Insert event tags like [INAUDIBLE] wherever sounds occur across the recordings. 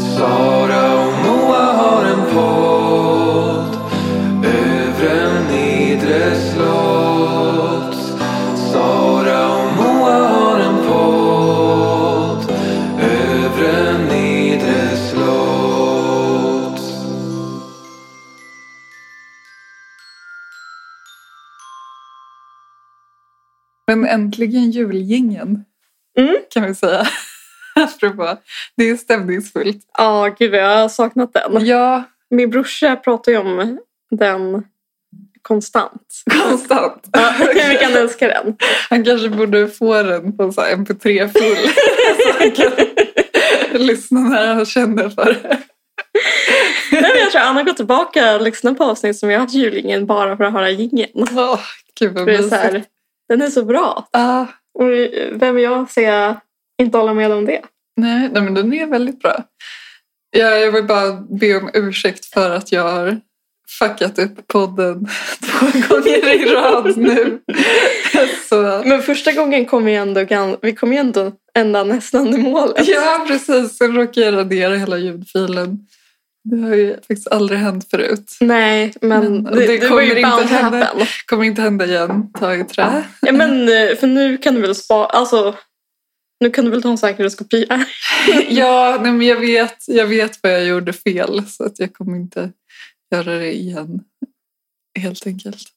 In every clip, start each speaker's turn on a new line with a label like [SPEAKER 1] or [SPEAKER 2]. [SPEAKER 1] Sara och Moa har en podd. Övre Nidre slotts. Sara och Moa har en podd. Övre Nidre slotts.
[SPEAKER 2] Men äntligen julgingen
[SPEAKER 3] Mm.
[SPEAKER 2] kan vi säga. [LAUGHS] Apropå, det är stämningsfullt.
[SPEAKER 3] Ja, gud vad jag har saknat den.
[SPEAKER 2] Ja,
[SPEAKER 3] Min brorsa pratar ju om den konstant.
[SPEAKER 2] konstant.
[SPEAKER 3] Ja, [LAUGHS] hur kan älska den?
[SPEAKER 2] Han kanske borde få den på så här mp3 full. [LAUGHS] så han kan lyssna när han känner för det.
[SPEAKER 3] Nej, men jag tror Anna går tillbaka och lyssnar på avsnitt som jag har haft julingen bara för att höra jingeln.
[SPEAKER 2] Åh, Gud vad
[SPEAKER 3] För det är så
[SPEAKER 2] mysigt.
[SPEAKER 3] här, den är så bra.
[SPEAKER 2] Ah,
[SPEAKER 3] Och vem är jag säga inte hålla med om det?
[SPEAKER 2] nej, nej, men den är väldigt bra. Ja, jag vill bara be om ursäkt för att jag har fuckat upp podden [LAUGHS] två gånger i rad nu. [LAUGHS] Så.
[SPEAKER 3] Men första gången kom vi ändå, gan- vi kom ju ändå ända nästan i målet.
[SPEAKER 2] Ja, precis. Sen råkade jag radera hela ljudfilen. Det har ju faktiskt aldrig hänt förut.
[SPEAKER 3] Nej, men
[SPEAKER 2] Men det
[SPEAKER 3] det, det, var
[SPEAKER 2] kommer
[SPEAKER 3] ju
[SPEAKER 2] inte
[SPEAKER 3] bound to
[SPEAKER 2] hända.
[SPEAKER 3] happen.
[SPEAKER 2] Kommer inte hända igen. Ta i trä.
[SPEAKER 3] Ja, men eh, för nu kan du väl spara, alltså nu kan du väl ta en säkerhetskopia?
[SPEAKER 2] Ja, nej, men jag vet, jag vet vad jag gjorde fel så att jag kommer inte göra det igen. Helt enkelt.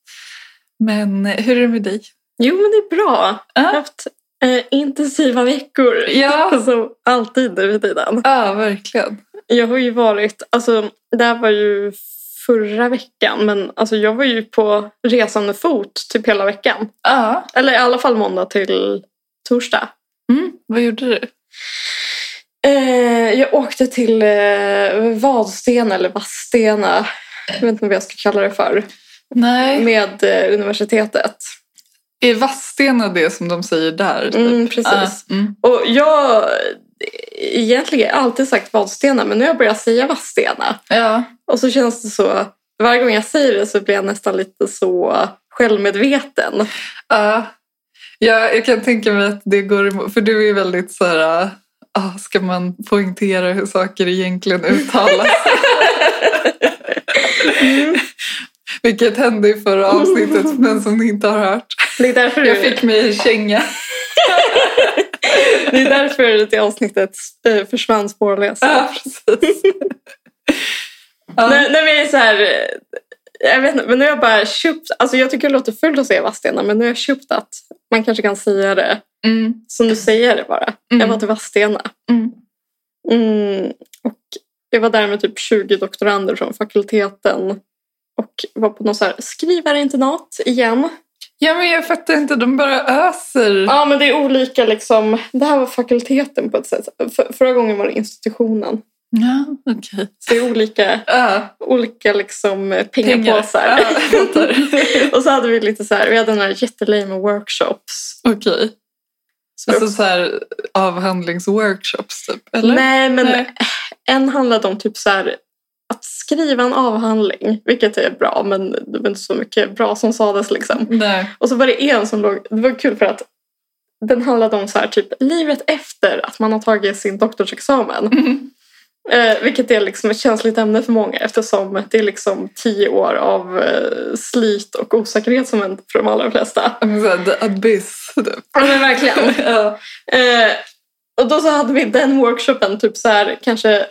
[SPEAKER 2] Men hur är det med dig?
[SPEAKER 3] [LAUGHS] Jo, men det är bra. Jag har haft eh, intensiva veckor.
[SPEAKER 2] Ja,
[SPEAKER 3] [LAUGHS] Alltså alltid nu för tiden.
[SPEAKER 2] ja verkligen.
[SPEAKER 3] Jag har ju varit, alltså det här var ju förra veckan men alltså jag var ju på resande fot typ hela veckan.
[SPEAKER 2] Ja.
[SPEAKER 3] Eller i alla fall måndag till torsdag.
[SPEAKER 2] Mm, vad gjorde du?
[SPEAKER 3] Eh, jag åkte till eh, Vadstena eller Vadstena. Jag vet inte vad jag ska kalla det för.
[SPEAKER 2] Nej.
[SPEAKER 3] Med eh, universitetet.
[SPEAKER 2] Är Vadstena det som de säger där? typ?
[SPEAKER 3] Mm, precis.
[SPEAKER 2] Ah, mm.
[SPEAKER 3] Och jag egentligen har jag alltid sagt Vadstena men nu har jag börjat säga Vadstena.
[SPEAKER 2] Ja.
[SPEAKER 3] Och så känns det så, varje gång jag säger det så blir jag nästan lite så självmedveten.
[SPEAKER 2] Ja, ja, jag kan tänka mig att det går emot. För du är väldigt så här... äh, ah, ska man poängtera hur saker egentligen
[SPEAKER 3] [LAUGHS]
[SPEAKER 2] uttalas? Vilket hände i förra avsnittet, men som ni inte har hört.
[SPEAKER 3] Det är därför,
[SPEAKER 2] Jag fick mig en
[SPEAKER 3] [LAUGHS]
[SPEAKER 2] känga.
[SPEAKER 3] det, är därför det avsnittet eh, försvann spårlöst.
[SPEAKER 2] Ja, precis. Ja.
[SPEAKER 3] Nej, nej, men jag är så här, eh, jag vet inte, men nu har jag bara köpt, alltså jag tycker det låter fult att säga Vadstena men nu har jag köpt att man kanske kan säga det
[SPEAKER 2] Mm,
[SPEAKER 3] som du säger det bara. Jag var
[SPEAKER 2] mm,
[SPEAKER 3] till Vadstena.
[SPEAKER 2] mm.
[SPEAKER 3] Mm, och jag var där med typ 20 doktorander från fakulteten och var på något så här skrivarinternat igen.
[SPEAKER 2] Ja, men jag fattar inte. De bara öser.
[SPEAKER 3] Ja, men det är olika liksom. Det här var fakulteten på ett sätt. För, förra gången var det institutionen.
[SPEAKER 2] Ja, okej.
[SPEAKER 3] Så det är olika,
[SPEAKER 2] Ja,
[SPEAKER 3] olika liksom eh,
[SPEAKER 2] pengar. Ja,
[SPEAKER 3] pengapåsar.
[SPEAKER 2] jag fattar.
[SPEAKER 3] [LAUGHS] och så hade vi lite så här, vi hade den här jättelame workshops.
[SPEAKER 2] Okej.
[SPEAKER 3] Så
[SPEAKER 2] Alltså så här avhandlingsworkshops typ, eller?
[SPEAKER 3] Nej, men
[SPEAKER 2] Nej.
[SPEAKER 3] en handlade om typ så här att skriva en avhandling, vilket är bra, men det var inte så mycket bra som sades liksom.
[SPEAKER 2] Nej.
[SPEAKER 3] Och så var det en som låg, det var kul för att den handlade om så här, typ livet efter att man har tagit sin doktorsexamen.
[SPEAKER 2] Mhm.
[SPEAKER 3] [LAUGHS] Eh, vilket är liksom ett känsligt ämne för många eftersom det är liksom tio år av eh, slit och osäkerhet som hänt för de allra flesta.
[SPEAKER 2] Ja, men Alltså, så här, the abyss typ.
[SPEAKER 3] Ja men verkligen.
[SPEAKER 2] [LAUGHS] Ja.
[SPEAKER 3] Eh, och då så hade vi den workshopen typ så här kanske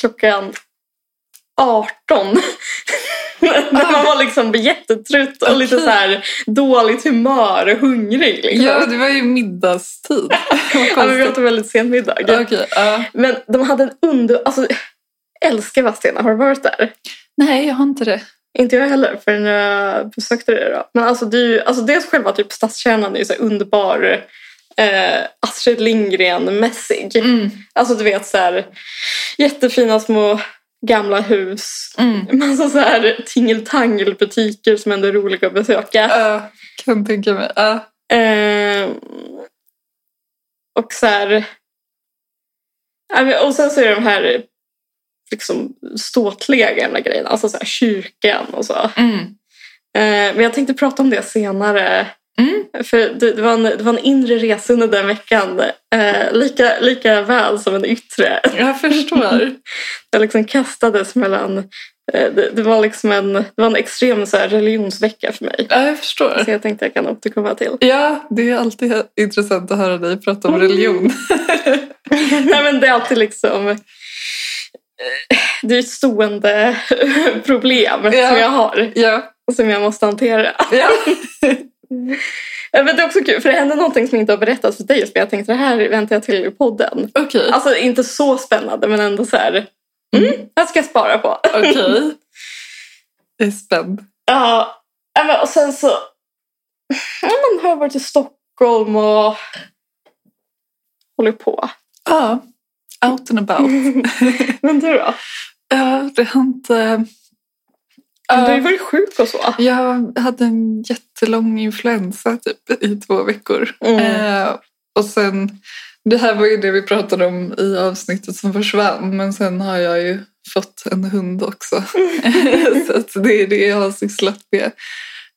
[SPEAKER 3] klockan 18. [LAUGHS] När man var liksom jättetrött och lite
[SPEAKER 2] Okej.
[SPEAKER 3] så här dåligt humör och hungrig. Liksom.
[SPEAKER 2] ja, det var ju [LAUGHS] middagstid. Vad
[SPEAKER 3] Ja, men vi
[SPEAKER 2] konstigt.
[SPEAKER 3] åt en väldigt sen middag.
[SPEAKER 2] Ja, Okej, ja.
[SPEAKER 3] Men de hade en under... Alltså, jag älskar Vadstena. Har du varit där?
[SPEAKER 2] Nej, jag har inte det.
[SPEAKER 3] Inte jag heller förrän jag besökte det. Då. Men alltså, det är ju, alltså dels själva typ stadskärnan är ju så här underbar eh, Astrid Lindgren-mässig.
[SPEAKER 2] Mm.
[SPEAKER 3] Alltså du vet så här jättefina små gamla hus.
[SPEAKER 2] Mm.
[SPEAKER 3] Massa så här tingeltangelbutiker som ändå är roliga att besöka.
[SPEAKER 2] Ja, kan tänka mig. Ja.
[SPEAKER 3] Eh, och så här... Ja, men- Och sen så är det de här liksom, ståtliga gamla grejerna, alltså så här, kyrkan och så. Eh,
[SPEAKER 2] Mm.
[SPEAKER 3] men jag tänkte prata om det senare
[SPEAKER 2] Mm.
[SPEAKER 3] För det, det, var en, det var en inre resa under den veckan. Eh, lika, lika väl som en yttre.
[SPEAKER 2] Jag förstår.
[SPEAKER 3] Jag liksom kastades mellan... Eh, det, det, var liksom en, det var en extrem så här, religionsvecka för mig.
[SPEAKER 2] Ja, jag förstår.
[SPEAKER 3] Så jag tänkte jag kan
[SPEAKER 2] [LAUGHS]
[SPEAKER 3] återkomma till.
[SPEAKER 2] Ja, det är alltid intressant att höra dig prata om
[SPEAKER 3] Mm.
[SPEAKER 2] religion.
[SPEAKER 3] Nej, men det är alltid liksom... eh, Det är ett stående [LAUGHS] problem
[SPEAKER 2] Ja.
[SPEAKER 3] som jag har.
[SPEAKER 2] Ja,
[SPEAKER 3] Och som jag måste hantera.
[SPEAKER 2] ja.
[SPEAKER 3] Eh, Men det är också kul, för det hände någonting som inte har berättats för dig. Så jag tänkte det här väntar jag till i podden.
[SPEAKER 2] okej.
[SPEAKER 3] Alltså inte så spännande men ändå så här. Mm, jag ska spara på.
[SPEAKER 2] Okej. Jag är spänd.
[SPEAKER 3] Ja, nej, men, och sen så ja, men, har jag varit i Stockholm och håller på.
[SPEAKER 2] Ja, Mm. out and about.
[SPEAKER 3] men du då?
[SPEAKER 2] Ja, det har inte...
[SPEAKER 3] Du har ju
[SPEAKER 2] Ja,
[SPEAKER 3] varit sjuk och så.
[SPEAKER 2] jag hade en jättelång influensa typ, i två veckor.
[SPEAKER 3] Mm.
[SPEAKER 2] Eh, och sen, det här var ju det vi pratade om i avsnittet som försvann, men sen har jag ju fått en hund också. [LAUGHS]
[SPEAKER 3] Mm.
[SPEAKER 2] så att det är det jag har sysslat med.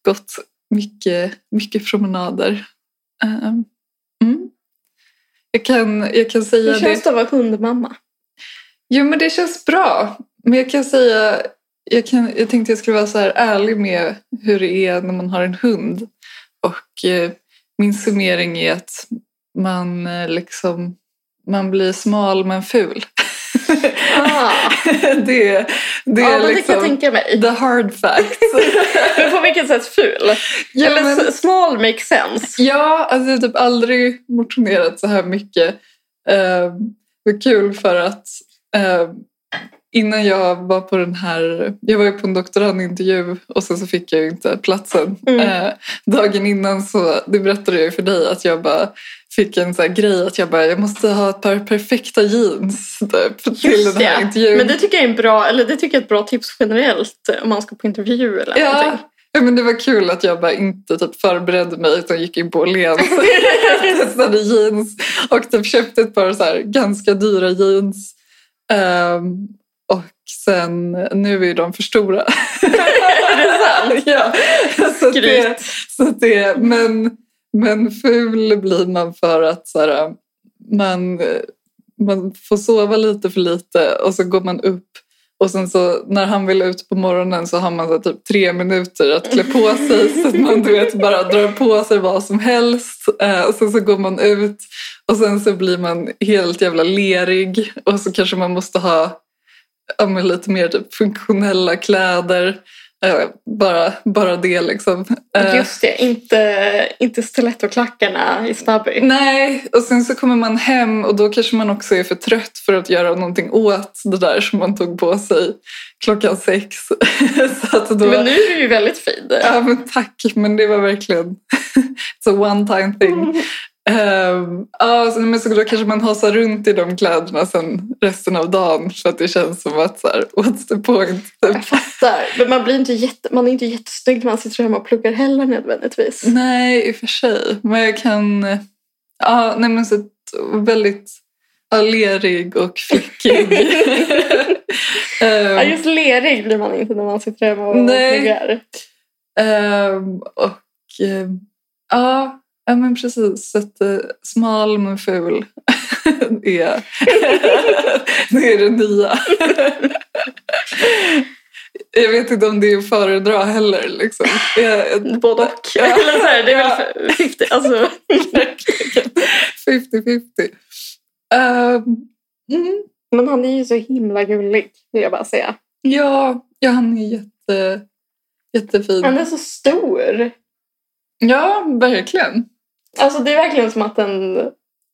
[SPEAKER 2] Gått mycket, mycket promenader. Eh, mm. jag, kan, jag kan säga
[SPEAKER 3] Hur känns det att vara hundmamma?
[SPEAKER 2] Jo, men det känns bra. Men jag kan säga... Jag, kan, jag tänkte jag skulle vara så här ärlig med hur det är när man har en hund. Och eh, min summering är att man eh, liksom... Man blir smal men ful. [LAUGHS]
[SPEAKER 3] [LAUGHS] Ah,
[SPEAKER 2] det är, det
[SPEAKER 3] ja,
[SPEAKER 2] är
[SPEAKER 3] men det kan jag
[SPEAKER 2] liksom
[SPEAKER 3] tänka mig.
[SPEAKER 2] the hard
[SPEAKER 3] [LAUGHS]
[SPEAKER 2] facts.
[SPEAKER 3] Men på vilket sätt ful?
[SPEAKER 2] ja,
[SPEAKER 3] Eller
[SPEAKER 2] men,
[SPEAKER 3] s- smal makes sense.
[SPEAKER 2] ja, alltså jag har typ aldrig motionerat så här mycket. Eh, det var kul för att eh, innan jag var på den här, jag var ju på en doktorandintervju och sen så fick jag ju inte platsen.
[SPEAKER 3] Mm.
[SPEAKER 2] Eh, dagen innan så, det berättade jag ju för dig att jag bara fick en så här grej att jag bara, jag måste ha ett par perfekta jeans typ, till
[SPEAKER 3] Just
[SPEAKER 2] den här
[SPEAKER 3] det.
[SPEAKER 2] intervjun.
[SPEAKER 3] Men det tycker jag är en bra, eller det tycker jag är ett bra tips generellt om man ska på intervju eller
[SPEAKER 2] ja. [LAUGHS]
[SPEAKER 3] någonting.
[SPEAKER 2] ja, men det var kul att jag bara inte typ förberedde mig utan gick in på Åhléns
[SPEAKER 3] [LAUGHS]
[SPEAKER 2] [LAUGHS] testade jeans och typ köpte ett par så här ganska dyra jeans. Ehm, och sen, nu är ju de för stora.
[SPEAKER 3] [LAUGHS] Är det sant?
[SPEAKER 2] [LAUGHS] ja, så att det,
[SPEAKER 3] Skryt.
[SPEAKER 2] så att det, men, men ful blir man för att så här, man, man får sova lite för lite och så går man upp och sen så när han vill ut på morgonen så har man så här typ tre minuter att klä på sig
[SPEAKER 3] [LAUGHS]
[SPEAKER 2] så att man du vet, bara drar på sig vad som helst. Eh, och sen så går man ut och sen så blir man helt jävla lerig och så kanske man måste ha ja, men lite mer typ funktionella kläder. Eh, bara, bara det liksom. Eh,
[SPEAKER 3] Just det, inte, inte stilettoklackarna i Stabby.
[SPEAKER 2] Nej, och sen så kommer man hem och då kanske man också är för trött för att göra någonting åt det där som man tog på sig klockan sex. [LAUGHS] så att då...
[SPEAKER 3] Men nu är du ju väldigt fin.
[SPEAKER 2] Ja, men tack, men det var verkligen [LAUGHS] it's a one time thing.
[SPEAKER 3] Mm.
[SPEAKER 2] Ehm, Ja, så- men så då kanske man hasar runt i de kläderna sen resten av dagen för att det känns som att så här, what's the point? Typ.
[SPEAKER 3] Jag fattar. Men man, blir inte jätte, man är inte jättesnygg när man sitter hemma och pluggar heller nödvändigtvis.
[SPEAKER 2] Nej, i och för sig. Men jag kan... Ja, nej men så att väldigt ja, lerig och
[SPEAKER 3] [LAUGHS]
[SPEAKER 2] flickig. Ehm,
[SPEAKER 3] Ja, just lerig blir man inte när man sitter hemma och
[SPEAKER 2] Nej.
[SPEAKER 3] pluggar.
[SPEAKER 2] ehm, och ehm, ja, ja, men precis. Så att, eh, smal men ful [LAUGHS] är, det är det nya. [LAUGHS] jag vet inte om det är att föredra heller. Liksom. Jag,
[SPEAKER 3] Både och.
[SPEAKER 2] Ja.
[SPEAKER 3] [LAUGHS] Eller så här, det är
[SPEAKER 2] Ja.
[SPEAKER 3] väl 50, alltså.
[SPEAKER 2] 50-50. Ehm, mm.
[SPEAKER 3] [LAUGHS] Men han är ju så himla gullig, vill jag bara säga.
[SPEAKER 2] Ja, ja han är jätte, jättefin.
[SPEAKER 3] Han är så stor.
[SPEAKER 2] Ja, verkligen.
[SPEAKER 3] Alltså det är verkligen som att en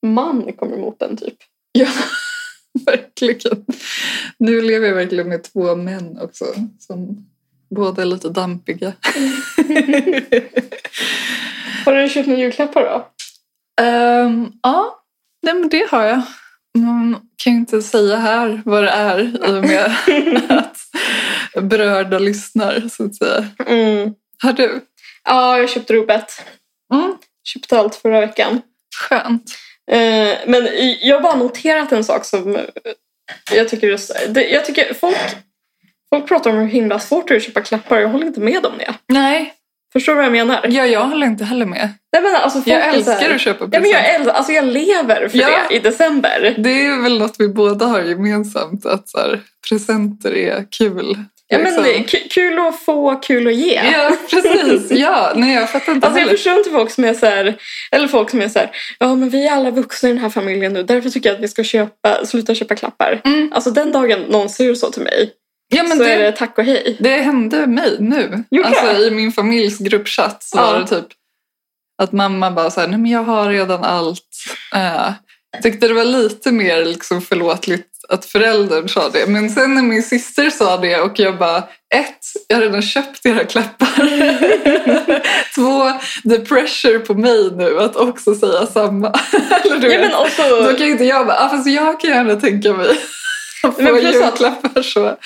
[SPEAKER 3] man kommer emot en typ.
[SPEAKER 2] Ja, [LAUGHS] verkligen. Nu lever jag verkligen med två män också som båda är lite
[SPEAKER 3] [LAUGHS]
[SPEAKER 2] dampiga.
[SPEAKER 3] Har du köpt några julklappar då?
[SPEAKER 2] Ehm, ja, nej, men det har jag. Man kan ju inte säga här vad det är i och med
[SPEAKER 3] [LAUGHS]
[SPEAKER 2] att berörda lyssnar. Så att säga.
[SPEAKER 3] Mm.
[SPEAKER 2] Har du?
[SPEAKER 3] Ja, jag köpte rubbet.
[SPEAKER 2] Mm,
[SPEAKER 3] Köpte allt förra veckan.
[SPEAKER 2] skönt.
[SPEAKER 3] Eh, men jag har bara noterat en sak som eh, jag tycker, är så- det, jag tycker folk, folk pratar om hur himla svårt det är att köpa klappar. Jag håller inte med om det.
[SPEAKER 2] Nej,
[SPEAKER 3] Förstår du vad jag menar?
[SPEAKER 2] Ja, jag håller inte heller med.
[SPEAKER 3] Nej, men alltså, folk
[SPEAKER 2] Jag
[SPEAKER 3] är så här-
[SPEAKER 2] älskar att köpa
[SPEAKER 3] Ja, men
[SPEAKER 2] present.
[SPEAKER 3] jag, älskar, alltså jag lever för
[SPEAKER 2] Ja.
[SPEAKER 3] det i december.
[SPEAKER 2] Det är väl något vi båda har gemensamt, att så här, presenter är kul.
[SPEAKER 3] Ja, men,
[SPEAKER 2] liksom.
[SPEAKER 3] ku- kul att få, kul att ge.
[SPEAKER 2] Ja, precis. Ja, nej jag fattar inte
[SPEAKER 3] Alltså jag
[SPEAKER 2] heller.
[SPEAKER 3] förstår inte folk som är så här, eller folk som är så här, ja men vi är alla vuxna i den här familjen nu, därför tycker jag att vi ska köpa, sluta köpa klappar.
[SPEAKER 2] Mm.
[SPEAKER 3] Alltså den dagen någon säger så till mig,
[SPEAKER 2] Ja, men
[SPEAKER 3] så
[SPEAKER 2] det,
[SPEAKER 3] är det tack och hej.
[SPEAKER 2] det hände mig nu.
[SPEAKER 3] Gjorde
[SPEAKER 2] Alltså
[SPEAKER 3] det?
[SPEAKER 2] i min familjs gruppchatt så
[SPEAKER 3] Ja.
[SPEAKER 2] var det typ att mamma bara så här, nej men jag har redan allt. Eh, tyckte det var lite mer liksom förlåtligt att föräldern sa det. Men sen när min syster sa det och jag bara, ett, jag har redan köpt era
[SPEAKER 3] [LAUGHS]
[SPEAKER 2] klappar. Två, the pressure på mig nu att också säga samma. [LAUGHS] Eller du
[SPEAKER 3] Ja,
[SPEAKER 2] vet.
[SPEAKER 3] men alltså- också,
[SPEAKER 2] Då kan ju inte jag bara, ah, fast jag kan gärna tänka mig att få
[SPEAKER 3] Men plus att-
[SPEAKER 2] julklappar så.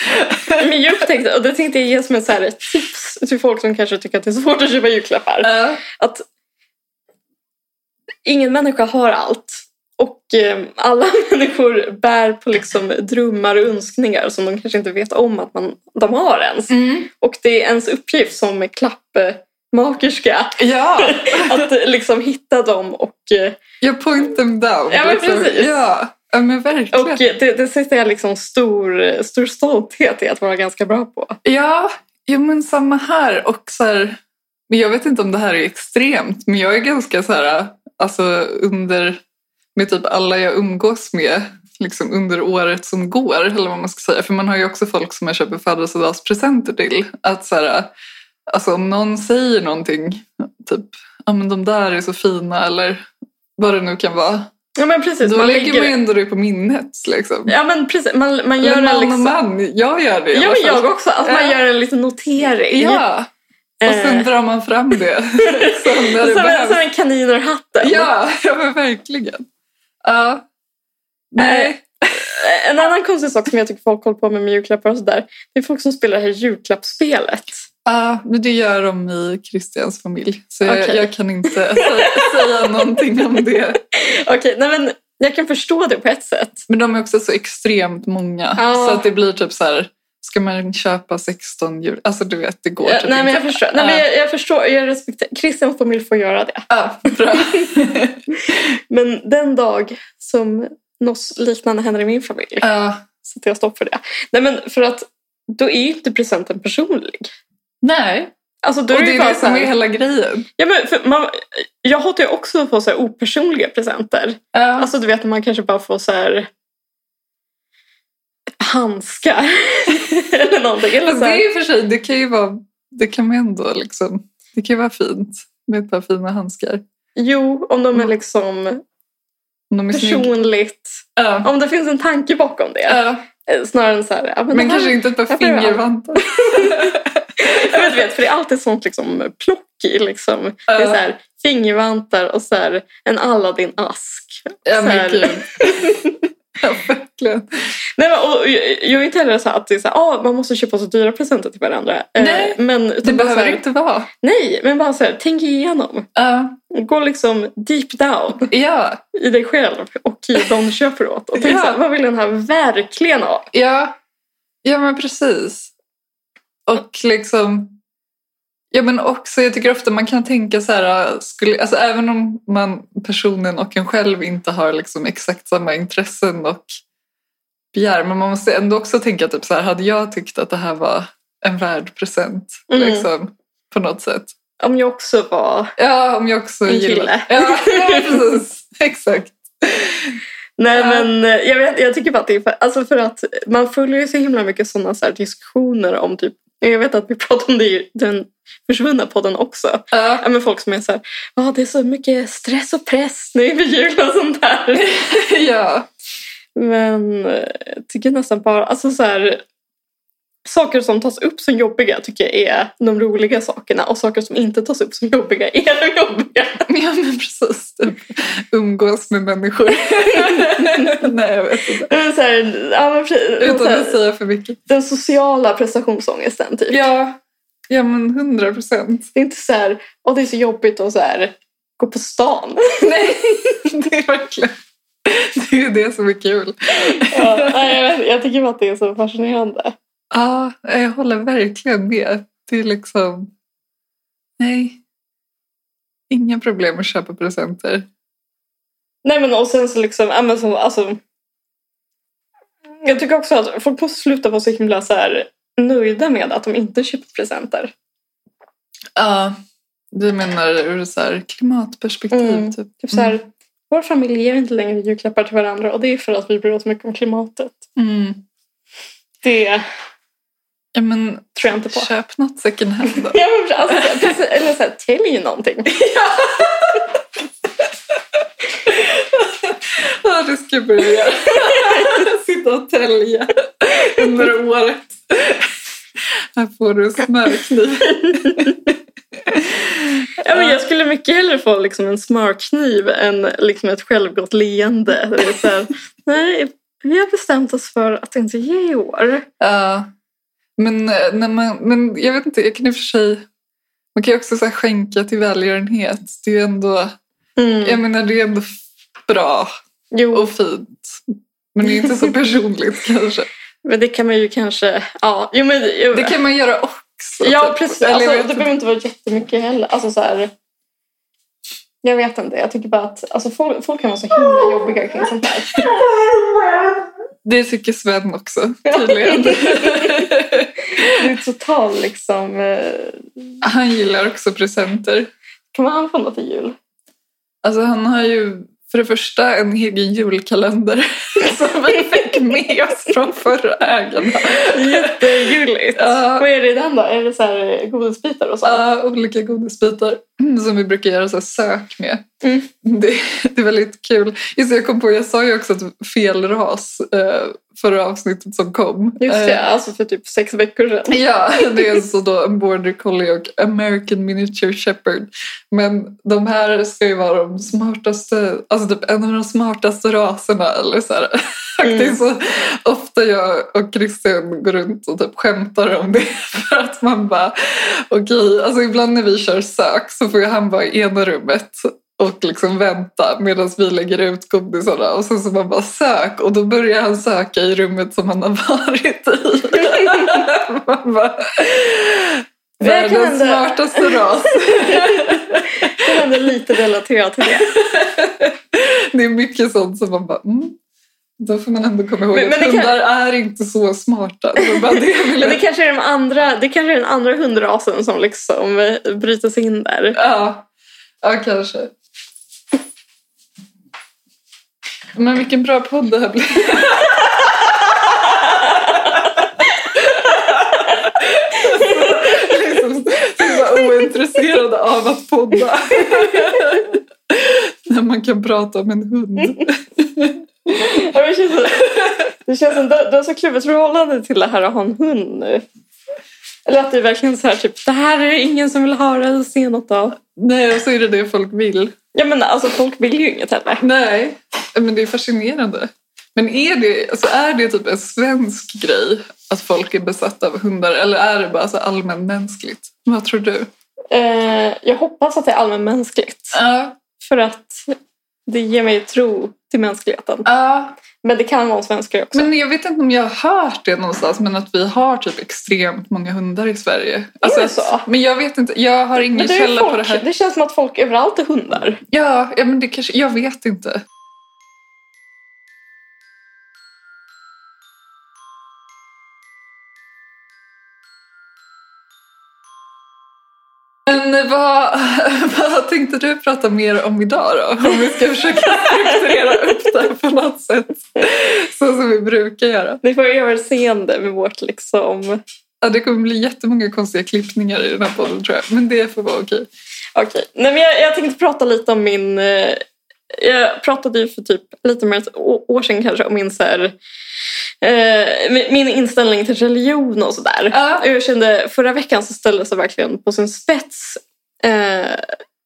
[SPEAKER 3] [LAUGHS] men jag upptäckte, och det tänkte jag ge som ett så här tips till folk som kanske tycker att det är svårt att köpa julklappar.
[SPEAKER 2] Ja,
[SPEAKER 3] att ingen människa har allt. Och eh, alla [LAUGHS] människor bär på liksom drömmar och önskningar som de kanske inte vet om att man, de har ens. Och det är ens uppgift som
[SPEAKER 2] [LAUGHS]
[SPEAKER 3] klappmakerska
[SPEAKER 2] ja.
[SPEAKER 3] att eh, liksom hitta dem. Och, eh,
[SPEAKER 2] jag point them down. Liksom.
[SPEAKER 3] Ja, men precis.
[SPEAKER 2] Ja. ja, men verkligen.
[SPEAKER 3] och eh, det, det sätter jag liksom stor, stor stolthet i att vara ganska bra på.
[SPEAKER 2] Ja, ja, men samma här. Och så här, men jag vet inte om det här är extremt, men jag är ganska så här, alltså under, med typ alla jag umgås med, liksom under året som går, eller vad man ska säga. För man har ju också folk som jag köper födelsedagspresenter till. Att så här, alltså om någon säger någonting, typ, ja men de där är så fina, eller vad det nu kan vara.
[SPEAKER 3] Ja men precis,
[SPEAKER 2] Då
[SPEAKER 3] man
[SPEAKER 2] lägger man ju
[SPEAKER 3] lägger...
[SPEAKER 2] ändå det på minnet. Liksom.
[SPEAKER 3] Ja men precis, man, man
[SPEAKER 2] Eller
[SPEAKER 3] gör
[SPEAKER 2] man
[SPEAKER 3] en
[SPEAKER 2] och
[SPEAKER 3] liksom...
[SPEAKER 2] man, jag gör det i
[SPEAKER 3] Ja
[SPEAKER 2] alla
[SPEAKER 3] men
[SPEAKER 2] fall.
[SPEAKER 3] jag också, att man
[SPEAKER 2] Ja.
[SPEAKER 3] gör en liten notering.
[SPEAKER 2] Ja, och sen
[SPEAKER 3] Eh.
[SPEAKER 2] drar man fram det
[SPEAKER 3] [LAUGHS]
[SPEAKER 2] sen när det
[SPEAKER 3] som, en,
[SPEAKER 2] behövs.
[SPEAKER 3] som en kanin ur hatten.
[SPEAKER 2] Ja, ja men verkligen. Ja.
[SPEAKER 3] Eh.
[SPEAKER 2] Nej.
[SPEAKER 3] En annan konstig sak som jag tycker folk håller på med med julklappar och sådär. Det är folk som spelar det här julklappsspelet.
[SPEAKER 2] Ja, men det gör de i Christians familj. Så jag,
[SPEAKER 3] Okej.
[SPEAKER 2] jag kan inte sä-
[SPEAKER 3] [LAUGHS]
[SPEAKER 2] säga någonting om det.
[SPEAKER 3] Okej, nej men jag kan förstå det på ett sätt.
[SPEAKER 2] Men de är också så extremt många.
[SPEAKER 3] Ja.
[SPEAKER 2] Så att det blir typ så här, ska man köpa 16 jul? Alltså du vet, det går
[SPEAKER 3] Eh,
[SPEAKER 2] typ
[SPEAKER 3] nej men jag
[SPEAKER 2] inte.
[SPEAKER 3] förstår. Nej, men jag, jag förstår. Jag respekterar. Christians familj får göra det.
[SPEAKER 2] Ja,
[SPEAKER 3] [LAUGHS]
[SPEAKER 2] bra.
[SPEAKER 3] Men den dag som något liknande händer i min familj
[SPEAKER 2] Ja.
[SPEAKER 3] sätter jag stopp för det. Nej men för att då är ju inte presenten personlig.
[SPEAKER 2] Nej,
[SPEAKER 3] Alltså då är
[SPEAKER 2] och
[SPEAKER 3] det,
[SPEAKER 2] det
[SPEAKER 3] ju
[SPEAKER 2] är
[SPEAKER 3] bara
[SPEAKER 2] det
[SPEAKER 3] så
[SPEAKER 2] som är
[SPEAKER 3] här,
[SPEAKER 2] hela grejen.
[SPEAKER 3] ja, men för man, Jag hatar ju också att få så här opersonliga presenter.
[SPEAKER 2] Ja.
[SPEAKER 3] Alltså du vet när man kanske bara får så här handskar [LAUGHS] eller någonting. Eller
[SPEAKER 2] Fast
[SPEAKER 3] så
[SPEAKER 2] det
[SPEAKER 3] här,
[SPEAKER 2] är i och för sig, det kan ju vara, det kan man ändå liksom, det kan ju vara fint med ett par fina handskar.
[SPEAKER 3] jo, om de är liksom
[SPEAKER 2] Om de Mm. är snygga.
[SPEAKER 3] personligt.
[SPEAKER 2] Ja.
[SPEAKER 3] Om det finns en tanke bakom det.
[SPEAKER 2] Ja.
[SPEAKER 3] Eh, Snarare än så här, ja, men,
[SPEAKER 2] Men
[SPEAKER 3] det här, [LAUGHS]
[SPEAKER 2] kanske inte ett par
[SPEAKER 3] jag får göra.
[SPEAKER 2] fingervantar.
[SPEAKER 3] jag vet, vet, för det är alltid sånt liksom plock i liksom. Det är så här, fingervantar och så här, en Aladdin-ask.
[SPEAKER 2] Ja,
[SPEAKER 3] så här.
[SPEAKER 2] men gud. Ja, verkligen.
[SPEAKER 3] Nej, men, och, jag, jag är inte heller så här att det är så här, ah, man måste köpa så dyra presenter till varandra. Eh,
[SPEAKER 2] Nej,
[SPEAKER 3] men,
[SPEAKER 2] Det
[SPEAKER 3] utan bara så
[SPEAKER 2] behöver
[SPEAKER 3] här,
[SPEAKER 2] inte vara.
[SPEAKER 3] Nej, men bara så här, tänk igenom.
[SPEAKER 2] Ja.
[SPEAKER 3] Gå liksom deep down
[SPEAKER 2] Ja,
[SPEAKER 3] i dig själv och i de du köper åt. Och tänk
[SPEAKER 2] Ja.
[SPEAKER 3] så här, vad vill den här verkligen ha?
[SPEAKER 2] ja. Ja, men precis. Och liksom... Ja, men också, jag tycker ofta man kan tänka så här, skulle, alltså även om man, personen och en själv inte har liksom exakt samma intressen och begär, men man måste ändå också tänka typ så här, hade jag tyckt att det här var en värd present
[SPEAKER 3] Mm.
[SPEAKER 2] liksom, på något sätt?
[SPEAKER 3] Om jag också var...
[SPEAKER 2] Ja, om jag också
[SPEAKER 3] En kille.
[SPEAKER 2] gillar... Ja,
[SPEAKER 3] [LAUGHS]
[SPEAKER 2] ja, precis. Exakt.
[SPEAKER 3] Nej,
[SPEAKER 2] Ja.
[SPEAKER 3] men eh, jag, vet, jag tycker bara att det är för, alltså för att man följer ju så himla mycket sådana så här diskussioner om typ... Jag vet att vi pratade om det i den försvunna podden också.
[SPEAKER 2] Ja.
[SPEAKER 3] Ja, men folk som är så här, ja det är så mycket stress och press nu vid jul och sånt där.
[SPEAKER 2] ja.
[SPEAKER 3] Men eh, jag tycker nästan bara... Alltså så här, saker som tas upp som jobbiga tycker jag är de roliga sakerna. Och saker som inte tas upp som jobbiga är de jobbiga. [LAUGHS]
[SPEAKER 2] Ja, men precis. Typ. Umgås med
[SPEAKER 3] [LAUGHS]
[SPEAKER 2] människor. [LAUGHS] Nej, jag vet inte.
[SPEAKER 3] Men så här, ja, men precis, så
[SPEAKER 2] Utan
[SPEAKER 3] här,
[SPEAKER 2] att säga för mycket.
[SPEAKER 3] den sociala prestationsångesten. Typ.
[SPEAKER 2] Ja, ja men hundra procent. [LAUGHS]
[SPEAKER 3] Det är inte så här, åh det är så jobbigt att så här, gå på stan.
[SPEAKER 2] Nej, det är verkligen... Det är ju det som är kul.
[SPEAKER 3] ja, [LAUGHS] nej, jag, vet- jag tycker bara att det är så fascinerande.
[SPEAKER 2] Ja, jag håller verkligen med. Det är liksom... Nej. Inga problem att köpa presenter.
[SPEAKER 3] Nej men och sen så liksom, ja, men så, alltså. Jag tycker också att folk måste sluta vara så himla så här, nöjda med att de inte köper presenter.
[SPEAKER 2] Ja. Du menar ur så här klimatperspektiv?
[SPEAKER 3] Mm.
[SPEAKER 2] Typ.
[SPEAKER 3] Typ så här, vår familj ger inte längre julklappar till varandra och det är för att vi bryr oss mycket om klimatet.
[SPEAKER 2] Mm.
[SPEAKER 3] Det
[SPEAKER 2] Ja, men,
[SPEAKER 3] tror jag inte på.
[SPEAKER 2] köp något second hand då.
[SPEAKER 3] [LAUGHS] Ja, men alltså, precis, eller så här, tälj någonting.
[SPEAKER 2] Ja, det ska jag börja [LAUGHS] göra. Sitta och tälja under året. Här får du smörkniv.
[SPEAKER 3] Ja, men jag skulle mycket hellre få liksom en smörkniv än liksom ett självgott leende. Det är så här, [LAUGHS] nej, vi har bestämt oss för att inte ge i år.
[SPEAKER 2] Ja. Men, eh, när man, men jag vet inte, jag kan i och för sig... Man kan ju också så här skänka till välgörenhet. Det är ju ändå, jag menar, det är ändå f- bra
[SPEAKER 3] Mm. Jo,
[SPEAKER 2] och fint. Men det är [LAUGHS] inte så personligt kanske.
[SPEAKER 3] men det kan man ju kanske... Ja, jo, men, jo.
[SPEAKER 2] Det kan man göra också.
[SPEAKER 3] ja
[SPEAKER 2] typ.
[SPEAKER 3] precis.
[SPEAKER 2] Eller jag
[SPEAKER 3] Alltså,
[SPEAKER 2] vet
[SPEAKER 3] det behöver inte vara jättemycket heller. Alltså, så här, jag vet inte, jag tycker bara att alltså, folk, folk kan vara så
[SPEAKER 2] Ah!
[SPEAKER 3] himla jobbiga kring
[SPEAKER 2] [LAUGHS]
[SPEAKER 3] sånt här.
[SPEAKER 2] Det tycker Sven [LAUGHS] också, tydligen.
[SPEAKER 3] Det är total liksom... eh,
[SPEAKER 2] Han gillar också presenter.
[SPEAKER 3] Kan man få något till jul?
[SPEAKER 2] Alltså han har ju för det första en egen julkalender [LAUGHS]
[SPEAKER 3] Alltså,
[SPEAKER 2] som vi fick med oss från förra ägarna.
[SPEAKER 3] Jättegulligt.
[SPEAKER 2] Ja.
[SPEAKER 3] Vad är det i den då? Är det så här eh, godisbitar och så?
[SPEAKER 2] Ja, olika godisbitar som vi brukar göra så här sök med.
[SPEAKER 3] Mm.
[SPEAKER 2] Det, det är väldigt kul. Just det, jag kom på, jag sa ju också att fel ras eh, förra avsnittet som kom.
[SPEAKER 3] Just det,
[SPEAKER 2] Eh,
[SPEAKER 3] alltså för typ sex veckor sedan.
[SPEAKER 2] Ja, det är så då en border collie och American miniature shepherd. Men de här ska ju vara de smartaste, alltså typ en av de smartaste raserna. Eller så här. Det är
[SPEAKER 3] Mm.
[SPEAKER 2] så ofta jag och Christian går runt och typ skämtar om det. [LAUGHS] För att man bara, okej, alltså ibland när vi kör sök så får ju han vara i ena rummet och liksom vänta medan vi lägger ut godisarna och sen så man bara sök och då börjar han söka i rummet som han har [LAUGHS] varit
[SPEAKER 3] [LAUGHS]
[SPEAKER 2] i. Man bara,
[SPEAKER 3] Det här kan
[SPEAKER 2] Världens
[SPEAKER 3] hända.
[SPEAKER 2] smartaste ras.
[SPEAKER 3] Det är ändå lite relaterat till det.
[SPEAKER 2] Det är mycket sånt som man bara, mm. Då får man ändå komma ihåg
[SPEAKER 3] Men-
[SPEAKER 2] att
[SPEAKER 3] men det kan-
[SPEAKER 2] hundar är inte så smarta. Så bara, det vill
[SPEAKER 3] Men det
[SPEAKER 2] jag...
[SPEAKER 3] kanske är, de andra, det kanske är den andra hundrasen som liksom eh, bryter sig in där.
[SPEAKER 2] ja. ja, kanske. Men vilken bra podd det här blev. liksom, så himla ointresserad av att podda. När man kan prata om en hund.
[SPEAKER 3] Ja, men Det känns, det känns som, du du har så kluvet förhållande till det här att ha en hund nu. Eller att det är verkligen så här typ, det här är det ingen som vill höra eller se något av.
[SPEAKER 2] Nej, och så är det det folk vill.
[SPEAKER 3] Ja men alltså folk vill ju inget heller.
[SPEAKER 2] Nej, men det är fascinerande. Men är det, alltså är det typ en svensk grej att folk är besatta av hundar eller är det bara så allmänmänskligt? Vad tror du?
[SPEAKER 3] Eh, jag hoppas att det är allmänmänskligt.
[SPEAKER 2] Ja,
[SPEAKER 3] För att det ger mig tro till mänskligheten.
[SPEAKER 2] ja.
[SPEAKER 3] Men det kan vara en svensk grej också.
[SPEAKER 2] men jag vet inte om jag har hört det någonstans men att vi har typ extremt många hundar i Sverige. Alltså,
[SPEAKER 3] det så?
[SPEAKER 2] Men jag vet inte, jag har ingen
[SPEAKER 3] Men det, är ju
[SPEAKER 2] källa på det
[SPEAKER 3] folk,
[SPEAKER 2] här.
[SPEAKER 3] det känns som att folk överallt är hundar.
[SPEAKER 2] Ja, ja men det kanske, jag vet inte. Men eh, vad, [LAUGHS] vad tänkte du prata mer om idag då? Om vi ska [LAUGHS] försöka strukturera upp det här på något sätt. Så som vi brukar göra.
[SPEAKER 3] Ni får överseende med vårt liksom...
[SPEAKER 2] Ja, det kommer bli jättemånga konstiga klippningar i den här podden tror jag. Men det får vara okej.
[SPEAKER 3] Okej, Nej, men jag, jag tänkte prata lite om min... eh, Jag pratade ju för typ lite mer än ett å- år sedan kanske om min så här, eh, min- min inställning till religion och sådär.
[SPEAKER 2] Ja.
[SPEAKER 3] Och Jag kände förra veckan så ställdes det verkligen på sin spets. Eh,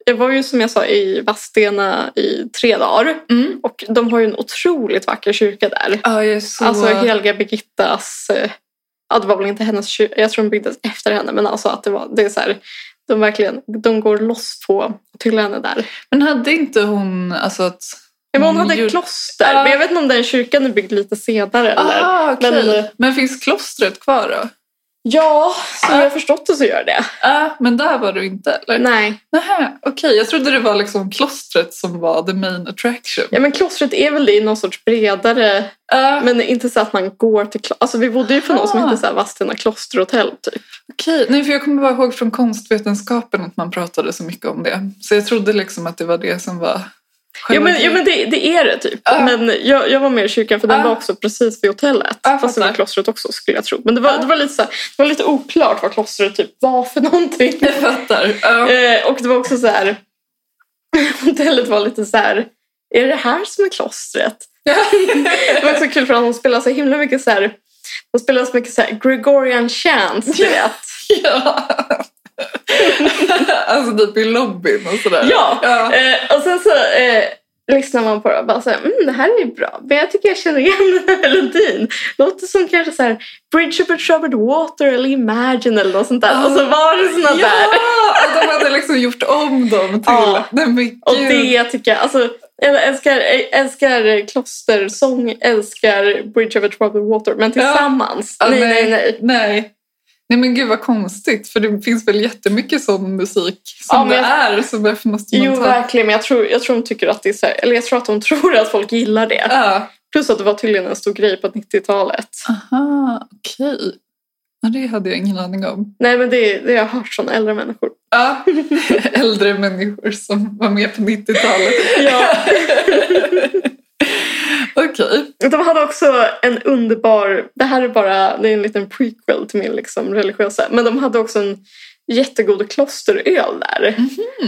[SPEAKER 3] jag var ju som jag sa i Vadstena i tre dagar
[SPEAKER 2] Mm.
[SPEAKER 3] och de har ju en otroligt vacker kyrka där.
[SPEAKER 2] Ja, jag är så...
[SPEAKER 3] Alltså Helga Birgittas, eh, ja det var väl inte hennes kyr- jag tror den byggdes efter henne, men alltså att det var, det är så här, de verkligen, de går loss på att hylla henne där.
[SPEAKER 2] Men hade inte hon alltså att... Ah,
[SPEAKER 3] Ja, Men hon hade
[SPEAKER 2] Jul-
[SPEAKER 3] ett kloster,
[SPEAKER 2] Ja.
[SPEAKER 3] men jag vet inte om den kyrkan är byggd lite senare eller?
[SPEAKER 2] Ah, okej.
[SPEAKER 3] Men-
[SPEAKER 2] men, finns klostret kvar då?
[SPEAKER 3] Ja, som
[SPEAKER 2] Ja.
[SPEAKER 3] jag har förstått det så gör det.
[SPEAKER 2] Äh, men där var du inte eller?
[SPEAKER 3] Ah. Nej.
[SPEAKER 2] Nähä, okej. Jag trodde det var liksom klostret som var the main attraction.
[SPEAKER 3] Ja, men klostret är väl det i någon sorts bredare...
[SPEAKER 2] Äh,
[SPEAKER 3] Men inte så att man går till klostret. Alltså vi bodde ju på något som
[SPEAKER 2] Aha.
[SPEAKER 3] hette så här Vadstena klosterhotell typ.
[SPEAKER 2] Okej, nej för jag kommer bara ihåg från konstvetenskapen att man pratade så mycket om det. Så jag trodde liksom att det var det som var
[SPEAKER 3] Jo men, jo,
[SPEAKER 2] grejen.
[SPEAKER 3] men det, det är det typ.
[SPEAKER 2] Ja.
[SPEAKER 3] Men jag, jag var med i kyrkan för den
[SPEAKER 2] Ja.
[SPEAKER 3] var också precis vid hotellet.
[SPEAKER 2] Ja,
[SPEAKER 3] fast det
[SPEAKER 2] fattar.
[SPEAKER 3] var klostret också skulle jag tro. Men det var,
[SPEAKER 2] Ja.
[SPEAKER 3] det var, lite, så här, det var lite oklart vad klostret typ var för någonting.
[SPEAKER 2] Jag fattar. Ah.
[SPEAKER 3] [LAUGHS]
[SPEAKER 2] [LAUGHS] Ja.
[SPEAKER 3] Eh, och det var också så här... [LAUGHS] Hotellet var lite så här... Är det det här som är klostret? Det var så kul för att hon spelade så himla mycket så här... Hon spelade så mycket så här Gregorian chants, du vet.
[SPEAKER 2] ja. [LAUGHS] alltså typ i lobbyn och sådär. Ah.
[SPEAKER 3] Ja.
[SPEAKER 2] ja.
[SPEAKER 3] Eh, och sen så eh, lyssnar man på det och bara så här, mm, det här är ju bra. Men jag tycker jag känner igen [LAUGHS] den här melodin. Låter som kanske så här Bridge over troubled water eller Imagine eller något sånt där. Och så var det såna
[SPEAKER 2] Ah, Ja,
[SPEAKER 3] där.
[SPEAKER 2] och de hade liksom gjort om dem till...
[SPEAKER 3] Ja.
[SPEAKER 2] Nej men gud.
[SPEAKER 3] Och det tycker jag, alltså jag älskar, jag älskar klostersång, älskar Bridge over troubled water. Men tillsammans,
[SPEAKER 2] Ja,
[SPEAKER 3] nej, nej,
[SPEAKER 2] nej.
[SPEAKER 3] nej.
[SPEAKER 2] Nej. Nej men gud vad konstigt. För det finns väl jättemycket sån musik som
[SPEAKER 3] Ja, men
[SPEAKER 2] det
[SPEAKER 3] jag-
[SPEAKER 2] är. Så varför måste man
[SPEAKER 3] Jo,
[SPEAKER 2] ta...
[SPEAKER 3] verkligen. Men jag tror, jag tror de tycker att det är så här, eller jag tror att de [LAUGHS] tror att folk gillar det.
[SPEAKER 2] Ja.
[SPEAKER 3] Plus att det var tydligen en stor grej på 90-talet.
[SPEAKER 2] Aha, okej. Ja, det hade jag ingen aning om.
[SPEAKER 3] Nej, men det, det har jag hört från äldre människor.
[SPEAKER 2] Ja, [LAUGHS] äldre människor som var med på 90-talet.
[SPEAKER 3] Ja.
[SPEAKER 2] Okej.
[SPEAKER 3] [LAUGHS] De hade också en underbar, det här är bara det är en liten prequel till min liksom religiösa, men de hade också en jättegod klosteröl där.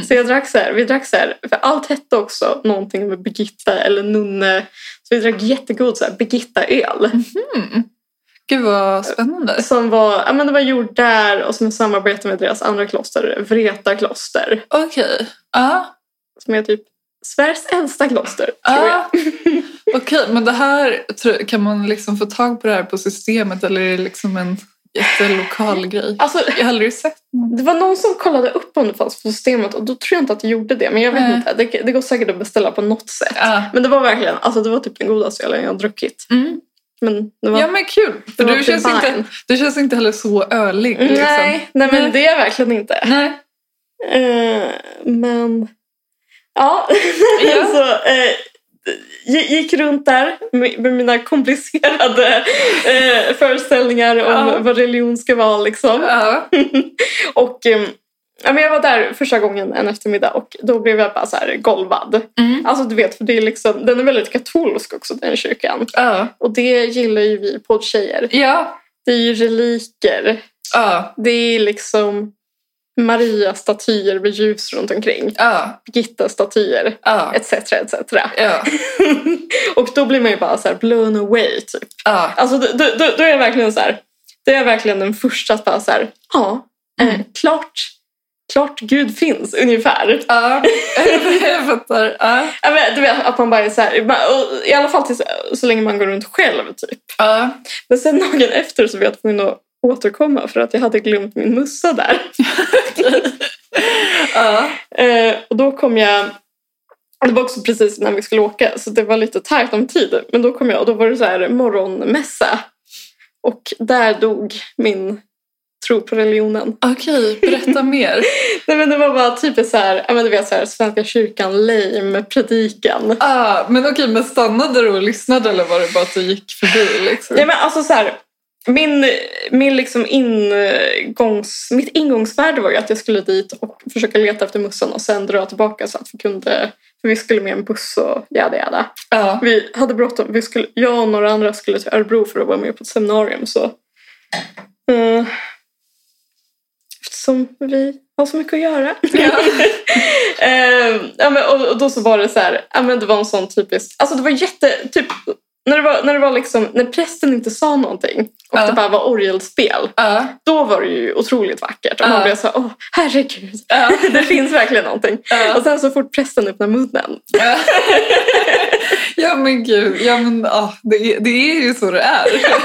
[SPEAKER 3] Så jag drack så här, vi drack så här, för allt hette också någonting med Birgitta eller nunne. Så vi drack jättegod så här Birgitta-öl
[SPEAKER 2] Gud vad spännande.
[SPEAKER 3] som var, ja men det var gjord där och som samarbete med deras andra kloster, Vreta kloster.
[SPEAKER 2] Okej. Ja.
[SPEAKER 3] Som är typ Sveriges äldsta kloster, tror jag.
[SPEAKER 2] ja. Ah. [LAUGHS] Okej, men det här tror- kan man liksom få tag på det här på systemet eller är det liksom en jättelokal grej?
[SPEAKER 3] Alltså,
[SPEAKER 2] Jag har aldrig sett någon.
[SPEAKER 3] Det var någon som kollade upp om det fanns på systemet och då tror jag inte att det gjorde det. Men jag vet
[SPEAKER 2] Nej.
[SPEAKER 3] inte, det, det går säkert att beställa på något sätt.
[SPEAKER 2] Ja.
[SPEAKER 3] Men det var verkligen, alltså det var typ den godaste ölen jag har druckit.
[SPEAKER 2] Mm.
[SPEAKER 3] Men det var,
[SPEAKER 2] ja men kul.
[SPEAKER 3] det
[SPEAKER 2] För
[SPEAKER 3] var
[SPEAKER 2] du känns, inte,
[SPEAKER 3] divine.
[SPEAKER 2] du känns inte heller så ölig. Liksom.
[SPEAKER 3] Nej, mm, nej men
[SPEAKER 2] Nej.
[SPEAKER 3] det är jag verkligen inte.
[SPEAKER 2] Nej.
[SPEAKER 3] Eh, men, ja.
[SPEAKER 2] Ja.
[SPEAKER 3] [LAUGHS] så, eh, gi- gick runt där med med mina komplicerade eh, föreställningar om
[SPEAKER 2] Ja.
[SPEAKER 3] vad religion ska vara liksom.
[SPEAKER 2] Ja.
[SPEAKER 3] [LAUGHS] Och ehm, ja, men jag var där första gången en eftermiddag och då blev jag bara så här golvad.
[SPEAKER 2] Mm.
[SPEAKER 3] Alltså du vet, för det är liksom, den är väldigt katolsk också den kyrkan.
[SPEAKER 2] Ja.
[SPEAKER 3] Och det gillar ju vi poddtjejer.
[SPEAKER 2] Ja.
[SPEAKER 3] Det är ju reliker.
[SPEAKER 2] Ja.
[SPEAKER 3] Det är liksom Maria-statyer med ljus runt omkring.
[SPEAKER 2] Ja.
[SPEAKER 3] Birgitta-statyer.
[SPEAKER 2] Ja.
[SPEAKER 3] Etc, etc.
[SPEAKER 2] Ja.
[SPEAKER 3] [LAUGHS] och då blir man ju bara så här blown away typ.
[SPEAKER 2] Ja.
[SPEAKER 3] Alltså då, då, då då är jag verkligen så här. Det är verkligen den första att bara så här. Ja, eh,
[SPEAKER 2] Mm.
[SPEAKER 3] klart, klart Gud finns ungefär.
[SPEAKER 2] Ja, jag fattar. Ja.
[SPEAKER 3] Ja, men Du vet att man bara är så här. man- och I alla fall tills, så länge man går runt själv typ.
[SPEAKER 2] Ja.
[SPEAKER 3] Men sen dagen efter så var jag tvungen att återkomma för att jag hade glömt min mussa där.
[SPEAKER 2] Ja.
[SPEAKER 3] Eh, och då kom jag, det var också precis när vi skulle åka så det var lite tajt om tid. Men då kom jag och då var det så här morgonmässa. Och där dog min tro på religionen.
[SPEAKER 2] Okej, berätta mer.
[SPEAKER 3] Nej men det var bara typiskt så här, ja men du vet så här Svenska kyrkan lame predikan.
[SPEAKER 2] Ah, men okej, men stannade du och lyssnade eller var det bara att du gick förbi? Liksom?
[SPEAKER 3] Nej men alltså så här, min, min liksom ingångs, mitt ingångsvärde var ju att jag skulle dit och försöka leta efter mussan och sen dra tillbaka så att vi kunde, för vi skulle med en buss och jada jada.
[SPEAKER 2] Ja.
[SPEAKER 3] Vi hade bråttom. Vi skulle, jag och några andra skulle till Örebro för att vara med på ett seminarium. Så, eh, eftersom vi har så mycket att [LAUGHS] göra.
[SPEAKER 2] Ja.
[SPEAKER 3] Eh, ja, men, och, och då så var det så här, ja, men det var en sån typisk, alltså det var jätte, typ, när det var, när det var liksom, när prästen inte sa någonting och
[SPEAKER 2] Ja.
[SPEAKER 3] det bara var orgelspel,
[SPEAKER 2] Ja.
[SPEAKER 3] då var det ju otroligt vackert. Och man
[SPEAKER 2] Ja.
[SPEAKER 3] blev så här, åh herregud,
[SPEAKER 2] Ja.
[SPEAKER 3] [LAUGHS] det finns verkligen någonting.
[SPEAKER 2] Ja.
[SPEAKER 3] Och sen så fort prästen öppnar munnen,
[SPEAKER 2] Ja. ja, men gud. Ja, men, ah, det, är, det är ju så det [LAUGHS] är. Alltså,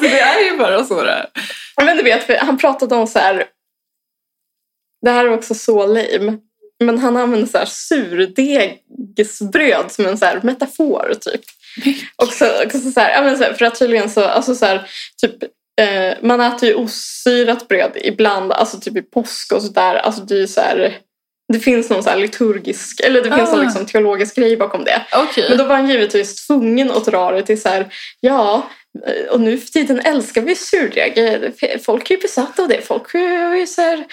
[SPEAKER 2] det är ju bara så det är.
[SPEAKER 3] Men du vet, för han pratade om så här... Det här är också så lame. Men han använde så här surdegsbröd som en så här metafor typ. Och så, och så, så här, ja, men så här, för att tydligen så, alltså så här, typ Eh, man äter ju osyrat bröd ibland, alltså typ i påsk och sådär. Alltså det är ju så här, det finns någon så här liturgisk, eller det finns
[SPEAKER 2] Ah.
[SPEAKER 3] någon liksom teologisk grej bakom det.
[SPEAKER 2] Okej.
[SPEAKER 3] Men då var han givetvis tvungen att dra det till så här, ja, eh, och nu för tiden älskar vi surdeg. Eh, f- Folk är ju besatta av det. Folk är ju så här,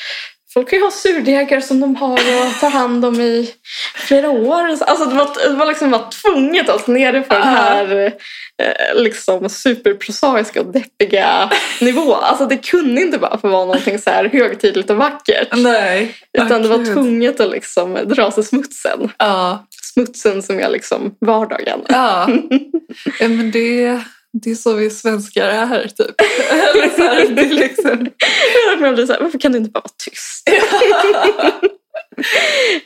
[SPEAKER 3] Folk kan ju ha surdegar som de har och tar hand om i flera år. Alltså det var, det var liksom bara tvunget att ner det för den här eh, liksom superprosaiska och deppiga nivån. Alltså det kunde inte bara få vara någonting så här högtidligt och vackert.
[SPEAKER 2] Nej.
[SPEAKER 3] Utan
[SPEAKER 2] Åh,
[SPEAKER 3] det var
[SPEAKER 2] gud.
[SPEAKER 3] tvunget att liksom dra sig smutsen.
[SPEAKER 2] Ja.
[SPEAKER 3] Smutsen som är liksom vardagen.
[SPEAKER 2] [LAUGHS] ja. ja men det, det är så vi svenskar är typ. Eller så här, det är liksom...
[SPEAKER 3] [LAUGHS] Men Jag blir så här, varför kan du inte bara vara tyst? [LAUGHS]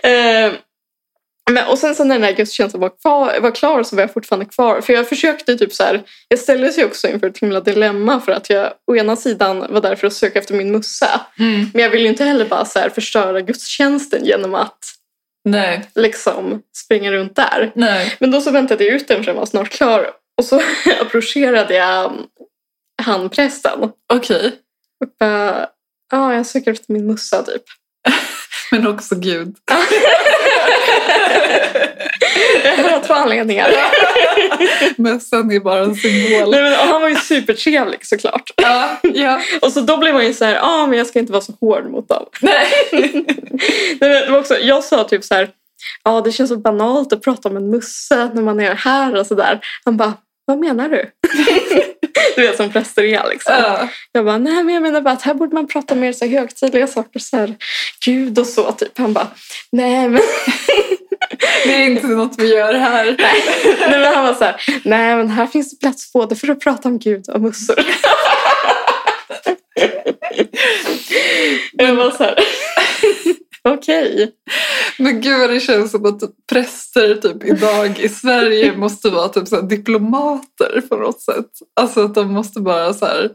[SPEAKER 3] Eh, Men, och sen så när den här gudstjänsten var, kvar, var klar så var jag fortfarande kvar. För jag försökte typ så här, jag ställdes ju också inför ett himla dilemma för att jag å ena sidan var där för att söka efter min mussa.
[SPEAKER 2] Mm.
[SPEAKER 3] Men jag ville ju inte heller bara så här förstöra gudstjänsten genom att
[SPEAKER 2] Nej.
[SPEAKER 3] liksom springa runt där.
[SPEAKER 2] Nej.
[SPEAKER 3] Men då så väntade jag ut den för den var snart klar. Och så [LAUGHS] approcherade jag mm, han prästen.
[SPEAKER 2] Okej.
[SPEAKER 3] Och bara, ja jag söker efter min mussa typ.
[SPEAKER 2] Men också [LAUGHS] Gud.
[SPEAKER 3] Jag har [LAUGHS] två anledningar.
[SPEAKER 2] Mössan är bara en symbol.
[SPEAKER 3] Nej, men, och han var ju supertrevlig såklart.
[SPEAKER 2] Ja. ja.
[SPEAKER 3] Och så då blev man ju så här, ja ah, men jag ska inte vara så hård mot dem. [LAUGHS]
[SPEAKER 2] Nej.
[SPEAKER 3] Nej, men det var också, jag sa typ så här, ja det känns så banalt att prata om en musse när man är här och sådär. Han bara, vad menar du? [LAUGHS] du vet som präster är liksom.
[SPEAKER 2] Ja.
[SPEAKER 3] Jag bara, nej men jag menar bara att här borde man prata mer så här högtidliga saker, så här Gud och så typ. Han bara, nej men
[SPEAKER 2] Det är inte något vi gör här.
[SPEAKER 3] Nej. Nej, men han var så här, nej men här finns det plats både för att prata om Gud och mussor. Jag var så här, okej.
[SPEAKER 2] Men gud vad det känns som att typ präster typ idag i Sverige [LAUGHS] måste vara typ så här diplomater på något sätt. Alltså att de måste bara så här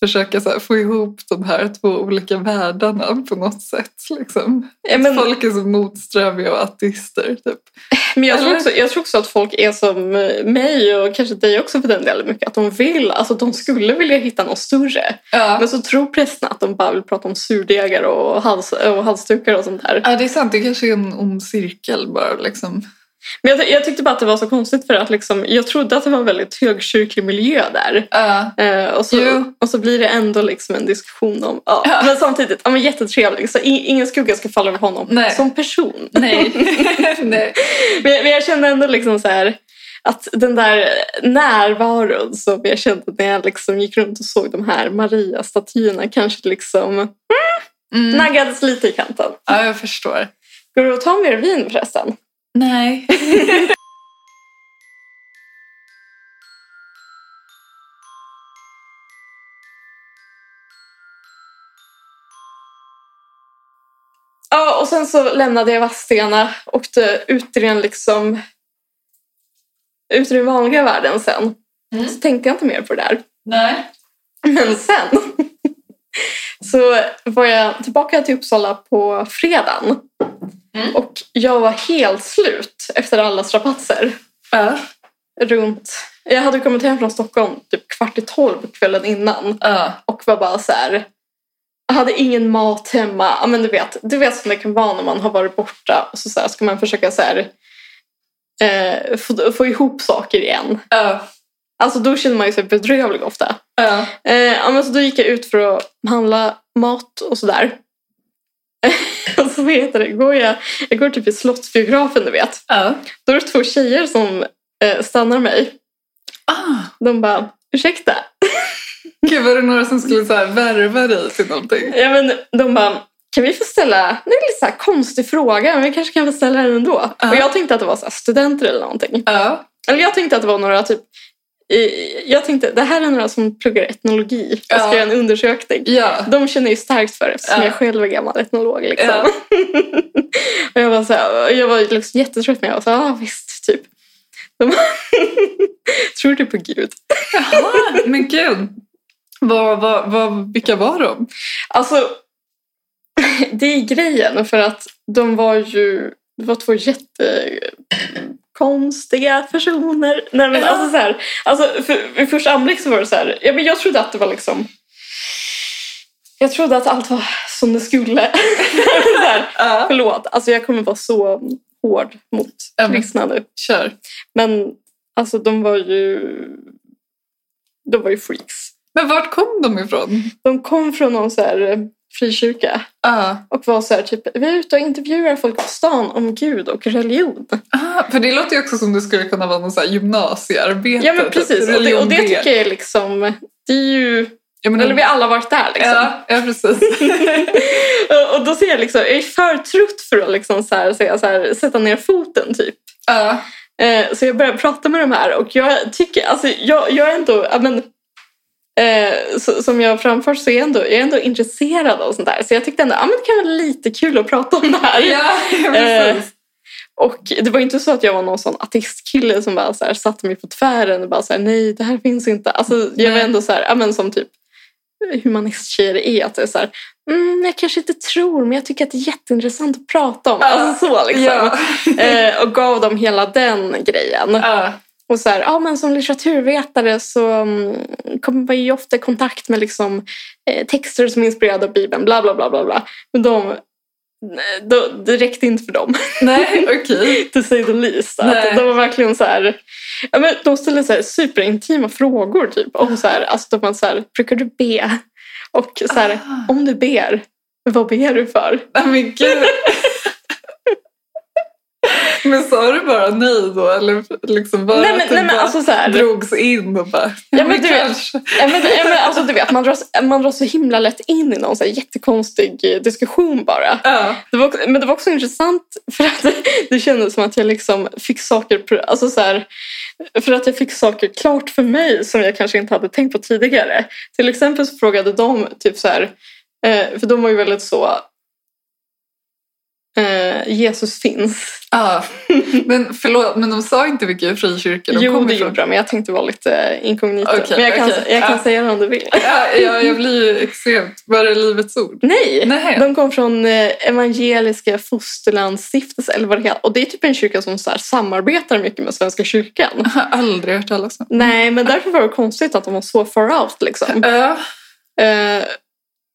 [SPEAKER 2] försöka så här få ihop de här två olika världarna på något sätt. Liksom.
[SPEAKER 3] Ja, men,
[SPEAKER 2] Folk är så motsträviga och ateister. Typ.
[SPEAKER 3] men jag, tror också, jag tror också att folk är som eh, mig och kanske dig också för den delen mycket. Att de vill, alltså de skulle vilja hitta något större.
[SPEAKER 2] Ja.
[SPEAKER 3] Men så tror prästerna att de bara vill prata om surdegar och, hals, och halsdukar och sånt där.
[SPEAKER 2] ja, det är sant. Det kanske är en ond cirkel bara. Liksom.
[SPEAKER 3] Men jag, jag tyckte bara att det var så konstigt för att liksom, jag trodde att det var en väldigt högkyrklig miljö där.
[SPEAKER 2] Ja.
[SPEAKER 3] Eh, och, så,
[SPEAKER 2] Jo.
[SPEAKER 3] och så blir det ändå liksom en diskussion om... Ja.
[SPEAKER 2] Ja.
[SPEAKER 3] Men samtidigt, ja, men jättetrevlig. Så i- ingen skugga ska falla över honom
[SPEAKER 2] Nej.
[SPEAKER 3] som person.
[SPEAKER 2] Nej. [LAUGHS] Nej.
[SPEAKER 3] Men, jag- men jag kände ändå liksom så här, att den där närvaron som jag kände när jag liksom gick runt och såg de här Maria-statyerna kanske liksom
[SPEAKER 2] Mm.
[SPEAKER 3] naggades lite i kanten.
[SPEAKER 2] Ja, jag förstår.
[SPEAKER 3] Går det att ta mer vin förresten?
[SPEAKER 2] Nej.
[SPEAKER 3] Ja, och sen så lämnade jag Vadstena och åkte ut i den liksom ut i den vanliga världen sen.
[SPEAKER 2] Mm.
[SPEAKER 3] Så tänkte jag inte mer på det där.
[SPEAKER 2] Nej.
[SPEAKER 3] Men sen så var jag tillbaka till Uppsala på fredagen.
[SPEAKER 2] Mm.
[SPEAKER 3] Och jag var helt slut efter alla strapatser.
[SPEAKER 2] Ja.
[SPEAKER 3] Runt, jag hade kommit hem från Stockholm typ kvart i tolv kvällen innan
[SPEAKER 2] Ja.
[SPEAKER 3] och var bara så här. Jag hade ingen mat hemma. Ja, men du vet, du vet som det kan vara när man har varit borta och så, så här, ska man försöka så här, eh, få, få ihop saker igen.
[SPEAKER 2] Ja.
[SPEAKER 3] Alltså då känner man ju sig bedrövlig ofta.
[SPEAKER 2] Ja.
[SPEAKER 3] Eh, ja, men så då gick jag ut för att handla mat och sådär. [LAUGHS] Och så vad heter det, går jag, jag går typ i Slottsbiografen du vet.
[SPEAKER 2] Ja.
[SPEAKER 3] Då är det två tjejer som eh, stannar mig.
[SPEAKER 2] Ah.
[SPEAKER 3] De bara, ursäkta?
[SPEAKER 2] Gud, var det några som skulle så här värva dig till någonting?
[SPEAKER 3] Ja, men de bara, kan vi få ställa, det är en lite så här konstig fråga, men vi kanske kan få ställa den ändå.
[SPEAKER 2] Ja.
[SPEAKER 3] Och jag tänkte att det var så här studenter eller någonting.
[SPEAKER 2] Ja.
[SPEAKER 3] Eller jag tänkte att det var några typ, i- jag tänkte det här är några som pluggar etnologi och ska
[SPEAKER 2] Ja.
[SPEAKER 3] göra en undersökning.
[SPEAKER 2] Ja.
[SPEAKER 3] De känner ju starkt för det, eftersom
[SPEAKER 2] Ja.
[SPEAKER 3] jag själv är gammal etnolog. Liksom.
[SPEAKER 2] Ja.
[SPEAKER 3] [LAUGHS] och jag var, så här, jag var liksom jättetrött men jag var så här, ah, visst, typ. De [LAUGHS] Tror du på Gud?
[SPEAKER 2] Jaha, [LAUGHS] men gud. Vad, vad, vad, vilka var de?
[SPEAKER 3] Alltså, [LAUGHS] det är grejen för att de var ju, det var två jättekonstiga konstiga personer. Nej, men alltså så här, alltså för, vid första anblick så var det så här, ja, men jag trodde att det var liksom jag trodde att allt var som det skulle. [LAUGHS] så här,
[SPEAKER 2] [LAUGHS] Ja,
[SPEAKER 3] förlåt, alltså jag kommer vara så hård mot
[SPEAKER 2] Ja, men-
[SPEAKER 3] kristna nu.
[SPEAKER 2] kör.
[SPEAKER 3] Men alltså de var ju... De var ju freaks.
[SPEAKER 2] Men vart kom de ifrån?
[SPEAKER 3] De kom från någon så här eh, frikyrka
[SPEAKER 2] Ja.
[SPEAKER 3] och var så här typ, vi är ute och intervjuar folk på stan om Gud och religion.
[SPEAKER 2] Ah, för det låter ju också som det skulle kunna vara någon så här gymnasiearbete.
[SPEAKER 3] Ja men
[SPEAKER 2] typ,
[SPEAKER 3] precis, och det,
[SPEAKER 2] religion
[SPEAKER 3] och det
[SPEAKER 2] B.
[SPEAKER 3] tycker jag är liksom, det är ju,
[SPEAKER 2] Ja, men,
[SPEAKER 3] eller vi har alla varit där liksom.
[SPEAKER 2] ja, ja, precis.
[SPEAKER 3] [LAUGHS] Och- Och då ser jag liksom, jag är för trött för att liksom så här, säga så här, sätta ner foten typ. [LAUGHS]
[SPEAKER 2] Ja,
[SPEAKER 3] Eh, så jag började prata med de här och jag tycker, alltså jag, jag är ändå, ja, men, eh, så, som jag har framfört så är jag ändå, jag är ändå intresserad av sånt där. Så jag tyckte ändå, ja men det kan vara lite kul att prata om det här.
[SPEAKER 2] ja,
[SPEAKER 3] Eh,
[SPEAKER 2] precis.
[SPEAKER 3] och det var inte så att jag var någon sån ateistkille som bara så här, satte mig på tvären och bara så här, nej det här finns inte. Alltså, jag var
[SPEAKER 2] Nej.
[SPEAKER 3] ändå så här, ja, men som typ humanisttjejer är, att det är så här, mm, jag kanske inte tror men jag tycker att det är jätteintressant att prata om.
[SPEAKER 2] Ja.
[SPEAKER 3] Alltså så liksom.
[SPEAKER 2] Ja.
[SPEAKER 3] Eh, och gav dem hela den grejen.
[SPEAKER 2] Ja.
[SPEAKER 3] Och så här, ja, men som litteraturvetare så mm, kommer man ju ofta i kontakt med liksom, eh, texter som är inspirerade av Bibeln, bla bla bla. bla, bla. Men de, de, det räckte inte för dem,
[SPEAKER 2] Nej, okej.
[SPEAKER 3] to say the least. Att
[SPEAKER 2] Nej.
[SPEAKER 3] de var verkligen så här, ja, men de ställde så här superintima frågor. Typ, om så här, alltså de var så här, brukar du be? Och [LAUGHS] så här,
[SPEAKER 2] Ah.
[SPEAKER 3] om du ber, vad ber du för?
[SPEAKER 2] Nej Ah, men gud. [LAUGHS] men sa du bara nej då? Eller liksom bara
[SPEAKER 3] nej, men,
[SPEAKER 2] att du
[SPEAKER 3] nej, men
[SPEAKER 2] bara
[SPEAKER 3] alltså så här,
[SPEAKER 2] drogs in och bara...
[SPEAKER 3] men du vet-
[SPEAKER 2] kanske.
[SPEAKER 3] Ja, men, ja, men, alltså, du vet, man, dras, man dras så himla lätt in i någon så här jättekonstig eh, diskussion bara.
[SPEAKER 2] Ja.
[SPEAKER 3] Det var, också- men det var också intressant för att [LAUGHS] det kändes som att jag liksom fick saker pr- alltså så här, för att jag fick saker klart för mig som jag kanske inte hade tänkt på tidigare. Till exempel så frågade de typ så här, eh, för de var ju väldigt så eh, Jesus finns.
[SPEAKER 2] ja. Men förlåt, men de sa inte vilka frikyrkor de
[SPEAKER 3] jo,
[SPEAKER 2] kom
[SPEAKER 3] det
[SPEAKER 2] ifrån?
[SPEAKER 3] gjorde de, men jag tänkte vara lite inkognito.
[SPEAKER 2] Okej,
[SPEAKER 3] men jag kan,
[SPEAKER 2] okej.
[SPEAKER 3] jag kan
[SPEAKER 2] Ja.
[SPEAKER 3] säga det om du vill.
[SPEAKER 2] Ja, ja, jag blir ju extremt... Var det Livets Ord?
[SPEAKER 3] Nej!
[SPEAKER 2] Nej.
[SPEAKER 3] De kom från eh, Evangeliska Fosterlandsstiftelsen eller vad det heter. Och det är typ en kyrka som så här samarbetar mycket med Svenska kyrkan.
[SPEAKER 2] Jag har aldrig hört talas om.
[SPEAKER 3] Nej, men därför var det konstigt att de var så far out [LAUGHS] liksom.
[SPEAKER 2] Ja,
[SPEAKER 3] Eh,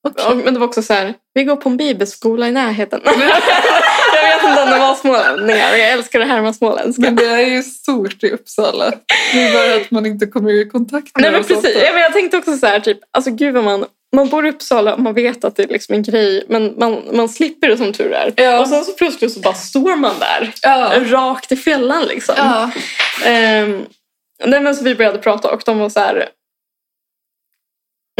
[SPEAKER 2] okej.
[SPEAKER 3] och, men det var också så här, vi går på en bibelskola i [LAUGHS] närheten. jag vet inte om det var smålänningar, jag älskar det här med småländska.
[SPEAKER 2] Men det är ju stort i Uppsala. Det är bara att man inte kommer i kontakt med
[SPEAKER 3] Nej men
[SPEAKER 2] dem så
[SPEAKER 3] precis,
[SPEAKER 2] ofta.
[SPEAKER 3] ja, men jag tänkte också så här, typ, alltså gud vad man, man bor i Uppsala och man vet att det är liksom en grej, men man, man slipper det som tur är.
[SPEAKER 2] Ja.
[SPEAKER 3] Och sen så plötsligt så bara står man där.
[SPEAKER 2] Ja.
[SPEAKER 3] rakt i fällan liksom.
[SPEAKER 2] Ja.
[SPEAKER 3] Ehm, nej, men så vi började prata och de var så här...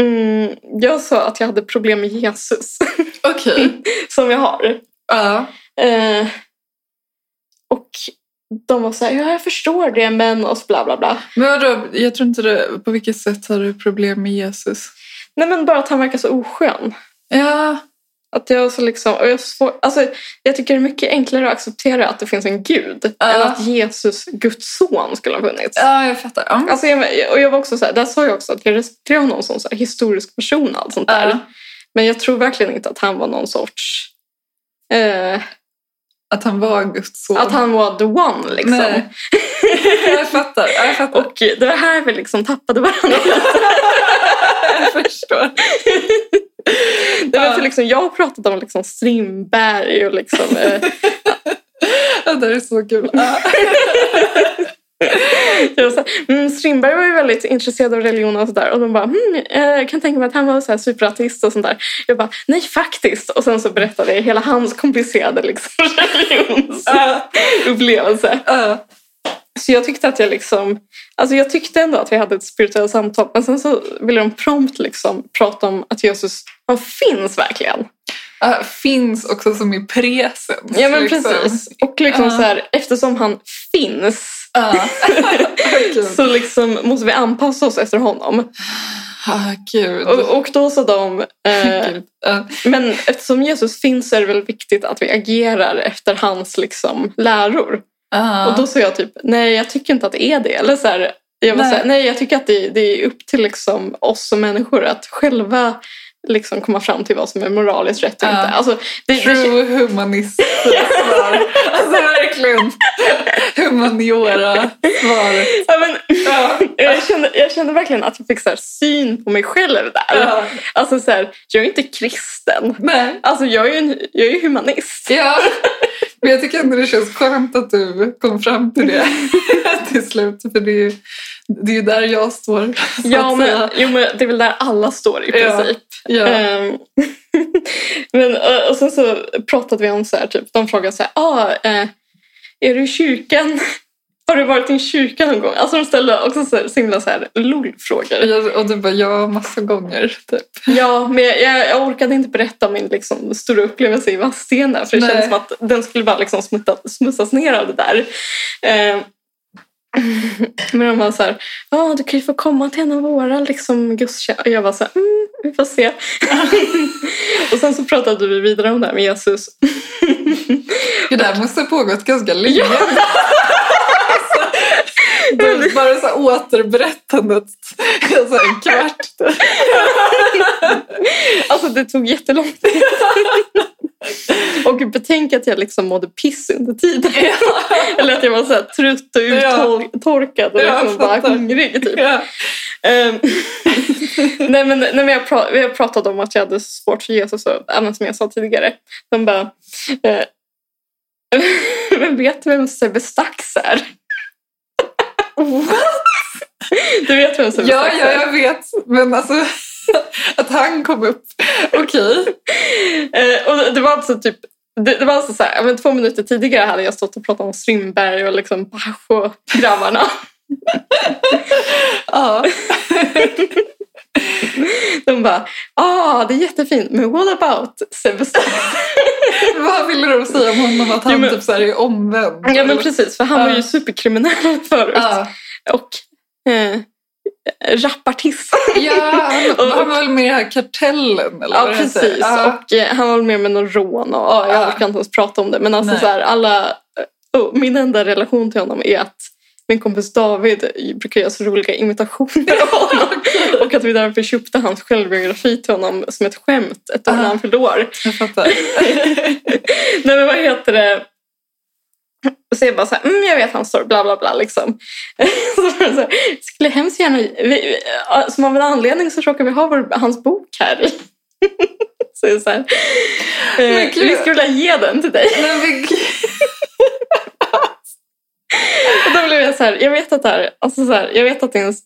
[SPEAKER 3] Mm, jag sa att jag hade problem med Jesus, [LAUGHS]
[SPEAKER 2] Okej.
[SPEAKER 3] som jag har.
[SPEAKER 2] Ja.
[SPEAKER 3] Ehm, och de var så här, ja jag förstår det men och så bla bla bla.
[SPEAKER 2] Men vadå, jag tror inte det... På vilket sätt har du problem med Jesus?
[SPEAKER 3] Nej men bara att han verkar så oskön.
[SPEAKER 2] Ja,
[SPEAKER 3] Att jag så liksom, och jag, har svår, alltså, jag tycker det är mycket enklare att acceptera att det finns en gud
[SPEAKER 2] Ja.
[SPEAKER 3] än att Jesus, Guds son, skulle ha funnits.
[SPEAKER 2] ja jag fattar. Ja.
[SPEAKER 3] Alltså jag, och jag var också så här, där sa jag också att jag respekterar honom som så här, historisk person och allt sånt där.
[SPEAKER 2] Ja.
[SPEAKER 3] Men jag tror verkligen inte att han var någon sorts... Eh,
[SPEAKER 2] Att han var Guds son.
[SPEAKER 3] att han var the one liksom.
[SPEAKER 2] Nej. [LAUGHS] jag fattar. Ja, Jag fattar.
[SPEAKER 3] Och det var här vi liksom tappade varandra.
[SPEAKER 2] jag förstår.
[SPEAKER 3] Det var
[SPEAKER 2] Ja.
[SPEAKER 3] för liksom, jag har pratat om liksom Strindberg och liksom... Eh,
[SPEAKER 2] Ja, [LAUGHS] det är så kul. Ja.
[SPEAKER 3] jag var så här, mm, Strindberg var ju väldigt intresserad av religion och sådär. Och de bara, mm, eh, jag kan tänka mig att han var så här superateist och sånt där. Jag bara, nej faktiskt. Och sen så berättade jag hela hans komplicerade liksom,
[SPEAKER 2] [LAUGHS]
[SPEAKER 3] [LAUGHS]
[SPEAKER 2] Ja.
[SPEAKER 3] religionsupplevelse.
[SPEAKER 2] Ja.
[SPEAKER 3] Så jag tyckte att jag liksom, alltså jag tyckte ändå att vi hade ett spirituellt samtal men sen så ville de prompt liksom prata om att Jesus, han finns verkligen.
[SPEAKER 2] Ja, Finns också som i presens.
[SPEAKER 3] Ja men
[SPEAKER 2] liksom.
[SPEAKER 3] precis. Och liksom
[SPEAKER 2] Ja.
[SPEAKER 3] så här, eftersom han finns
[SPEAKER 2] Ja. [LAUGHS] Vad kul.
[SPEAKER 3] så liksom måste vi anpassa oss efter honom.
[SPEAKER 2] Ah, gud.
[SPEAKER 3] Och, och då sa de, eh,
[SPEAKER 2] Gud. Ja.
[SPEAKER 3] men eftersom Jesus finns så är det väl viktigt att vi agerar efter hans liksom läror.
[SPEAKER 2] Ja.
[SPEAKER 3] Och då sa jag typ, nej jag tycker inte att det är det. Eller så här, jag var nej.
[SPEAKER 2] Nej.
[SPEAKER 3] Så här, nej jag tycker att det, det är upp till liksom oss som människor att själva liksom komma fram till vad som är moraliskt rätt och
[SPEAKER 2] Ja.
[SPEAKER 3] inte. Alltså, det, det,
[SPEAKER 2] Ah, True humanist svar.
[SPEAKER 3] [LAUGHS]
[SPEAKER 2] Alltså verkligen. Humaniora svar.
[SPEAKER 3] ja, men,
[SPEAKER 2] Ja.
[SPEAKER 3] jag, kände, jag kände verkligen att jag fick så här, syn på mig själv där.
[SPEAKER 2] Ja.
[SPEAKER 3] Alltså, så här, jag är inte kristen.
[SPEAKER 2] Nej.
[SPEAKER 3] Alltså, jag är ju en, jag är ju humanist.
[SPEAKER 2] Ja. Men jag tycker ändå det känns skönt att du kom fram till det
[SPEAKER 3] [LAUGHS]
[SPEAKER 2] till slut. För det är ju, det är ju där jag står. så
[SPEAKER 3] Ja,
[SPEAKER 2] att
[SPEAKER 3] men,
[SPEAKER 2] säga.
[SPEAKER 3] jo, men det är väl där alla står i
[SPEAKER 2] Ja.
[SPEAKER 3] princip.
[SPEAKER 2] ja.
[SPEAKER 3] Ehm, [LAUGHS] men, och, och sen så pratade vi om så här, typ, de frågade så här, ah, eh, är du i kyrkan? [LAUGHS] Har du varit i en kyrka någon gång? Alltså de ställde också så, här, så himla så här LOL-frågor.
[SPEAKER 2] Jag, och du bara, ja, massa gånger. Typ.
[SPEAKER 3] Ja, men jag, jag, jag orkade inte berätta om min liksom, stora upplevelse i Vadstena där, för det
[SPEAKER 2] Nej.
[SPEAKER 3] kändes som att den skulle bara liksom smutta, smutsas ner av det där. Ehm, men de var så här, ja du kan ju få komma till en av våra liksom, gudstjänster. Och jag var så här, mm, vi
[SPEAKER 2] [LAUGHS]
[SPEAKER 3] får se. och sen så pratade vi vidare om det här med Jesus.
[SPEAKER 2] Det där måste ha pågått ganska länge. alltså, [LAUGHS] det är bara så här återberättandet. Alltså en kvart.
[SPEAKER 3] Alltså det tog jättelång
[SPEAKER 2] [LAUGHS]
[SPEAKER 3] tid. och betänk att jag liksom mådde piss under tiden. Eller att jag var så här trött och uttorkad och
[SPEAKER 2] Ja,
[SPEAKER 3] liksom bara
[SPEAKER 2] fattar.
[SPEAKER 3] hungrig. Typ.
[SPEAKER 2] Ja.
[SPEAKER 3] Ehm, nej men, nej, men jag, pra- jag pratade om att jag hade svårt för Jesus och även som jag sa tidigare. De bara... Eh, [LAUGHS] men vet du vem Sebbe Stax är? Du vet vem Sebbe
[SPEAKER 2] Ja,
[SPEAKER 3] Stax
[SPEAKER 2] ja,
[SPEAKER 3] är?
[SPEAKER 2] jag vet. Men alltså att han kom upp. Okej.
[SPEAKER 3] [LAUGHS] Eh, och det var alltså typ det, det var alltså så här, ja, men två minuter tidigare hade jag stått och pratat om Strindberg och liksom Bach och grabbarna.
[SPEAKER 2] Ja.
[SPEAKER 3] [LAUGHS] De bara, ah det är jättefint, men what about Sebbe Stax?
[SPEAKER 2] Vad ville de säga om honom? Att han
[SPEAKER 3] Jo, men-
[SPEAKER 2] typ så här är omvänd?
[SPEAKER 3] Ja men precis, för han var ju
[SPEAKER 2] Ja.
[SPEAKER 3] superkriminell förut.
[SPEAKER 2] Ja,
[SPEAKER 3] Och eh, rapartist.
[SPEAKER 2] ja han,
[SPEAKER 3] Och-
[SPEAKER 2] han var väl med i den här kartellen? Eller
[SPEAKER 3] Ja
[SPEAKER 2] vad det heter.
[SPEAKER 3] precis.
[SPEAKER 2] Ja.
[SPEAKER 3] Och eh, han var med med någon rån och ja, jag
[SPEAKER 2] Ja.
[SPEAKER 3] orkar inte ens prata om det. Men alltså
[SPEAKER 2] Nej.
[SPEAKER 3] så här, alla, oh, min enda relation till honom är att min kompis David brukar göra så roliga imitationer av
[SPEAKER 2] [LAUGHS]
[SPEAKER 3] honom. Och att vi därför köpte hans självbiografi till honom som ett skämt ett år när
[SPEAKER 2] Ah.
[SPEAKER 3] han fyllde år.
[SPEAKER 2] Jag fattar.
[SPEAKER 3] Nej men vad heter det? Och så är jag bara så här, mm, jag vet han står bla bla bla liksom. [LAUGHS] så var det så här, skulle hemskt gärna, vi- vi, ja, som av en anledning så råkar vi ha vår, hans bok här. [LAUGHS] i." så är det så här, eh,
[SPEAKER 2] Men gud.
[SPEAKER 3] vi skulle vilja ge den till dig.
[SPEAKER 2] Nej, men gud.
[SPEAKER 3] Och då blev jag så här, jag vet att det här, alltså så här, jag vet att det är en s-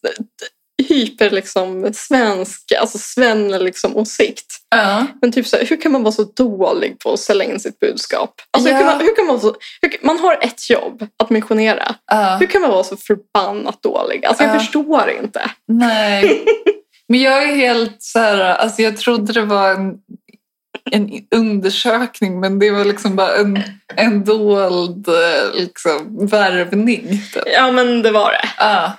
[SPEAKER 3] hyper liksom svensk, alltså sven liksom åsikt.
[SPEAKER 2] Ja.
[SPEAKER 3] Men typ så här, hur kan man vara så dålig på att sälja in sitt budskap? Alltså, hur
[SPEAKER 2] Ja.
[SPEAKER 3] kan man, hur kan man, vara så, hur, kan- man har ett jobb, att missionera.
[SPEAKER 2] Ja.
[SPEAKER 3] Hur kan man vara så förbannat dålig? Alltså, jag
[SPEAKER 2] Ja.
[SPEAKER 3] förstår inte.
[SPEAKER 2] Nej. Men jag är helt så här, alltså jag trodde det var en, en undersökning men det var liksom bara en, en dold eh, liksom, värvning. Typ.
[SPEAKER 3] Ja, men det var det.
[SPEAKER 2] Ja.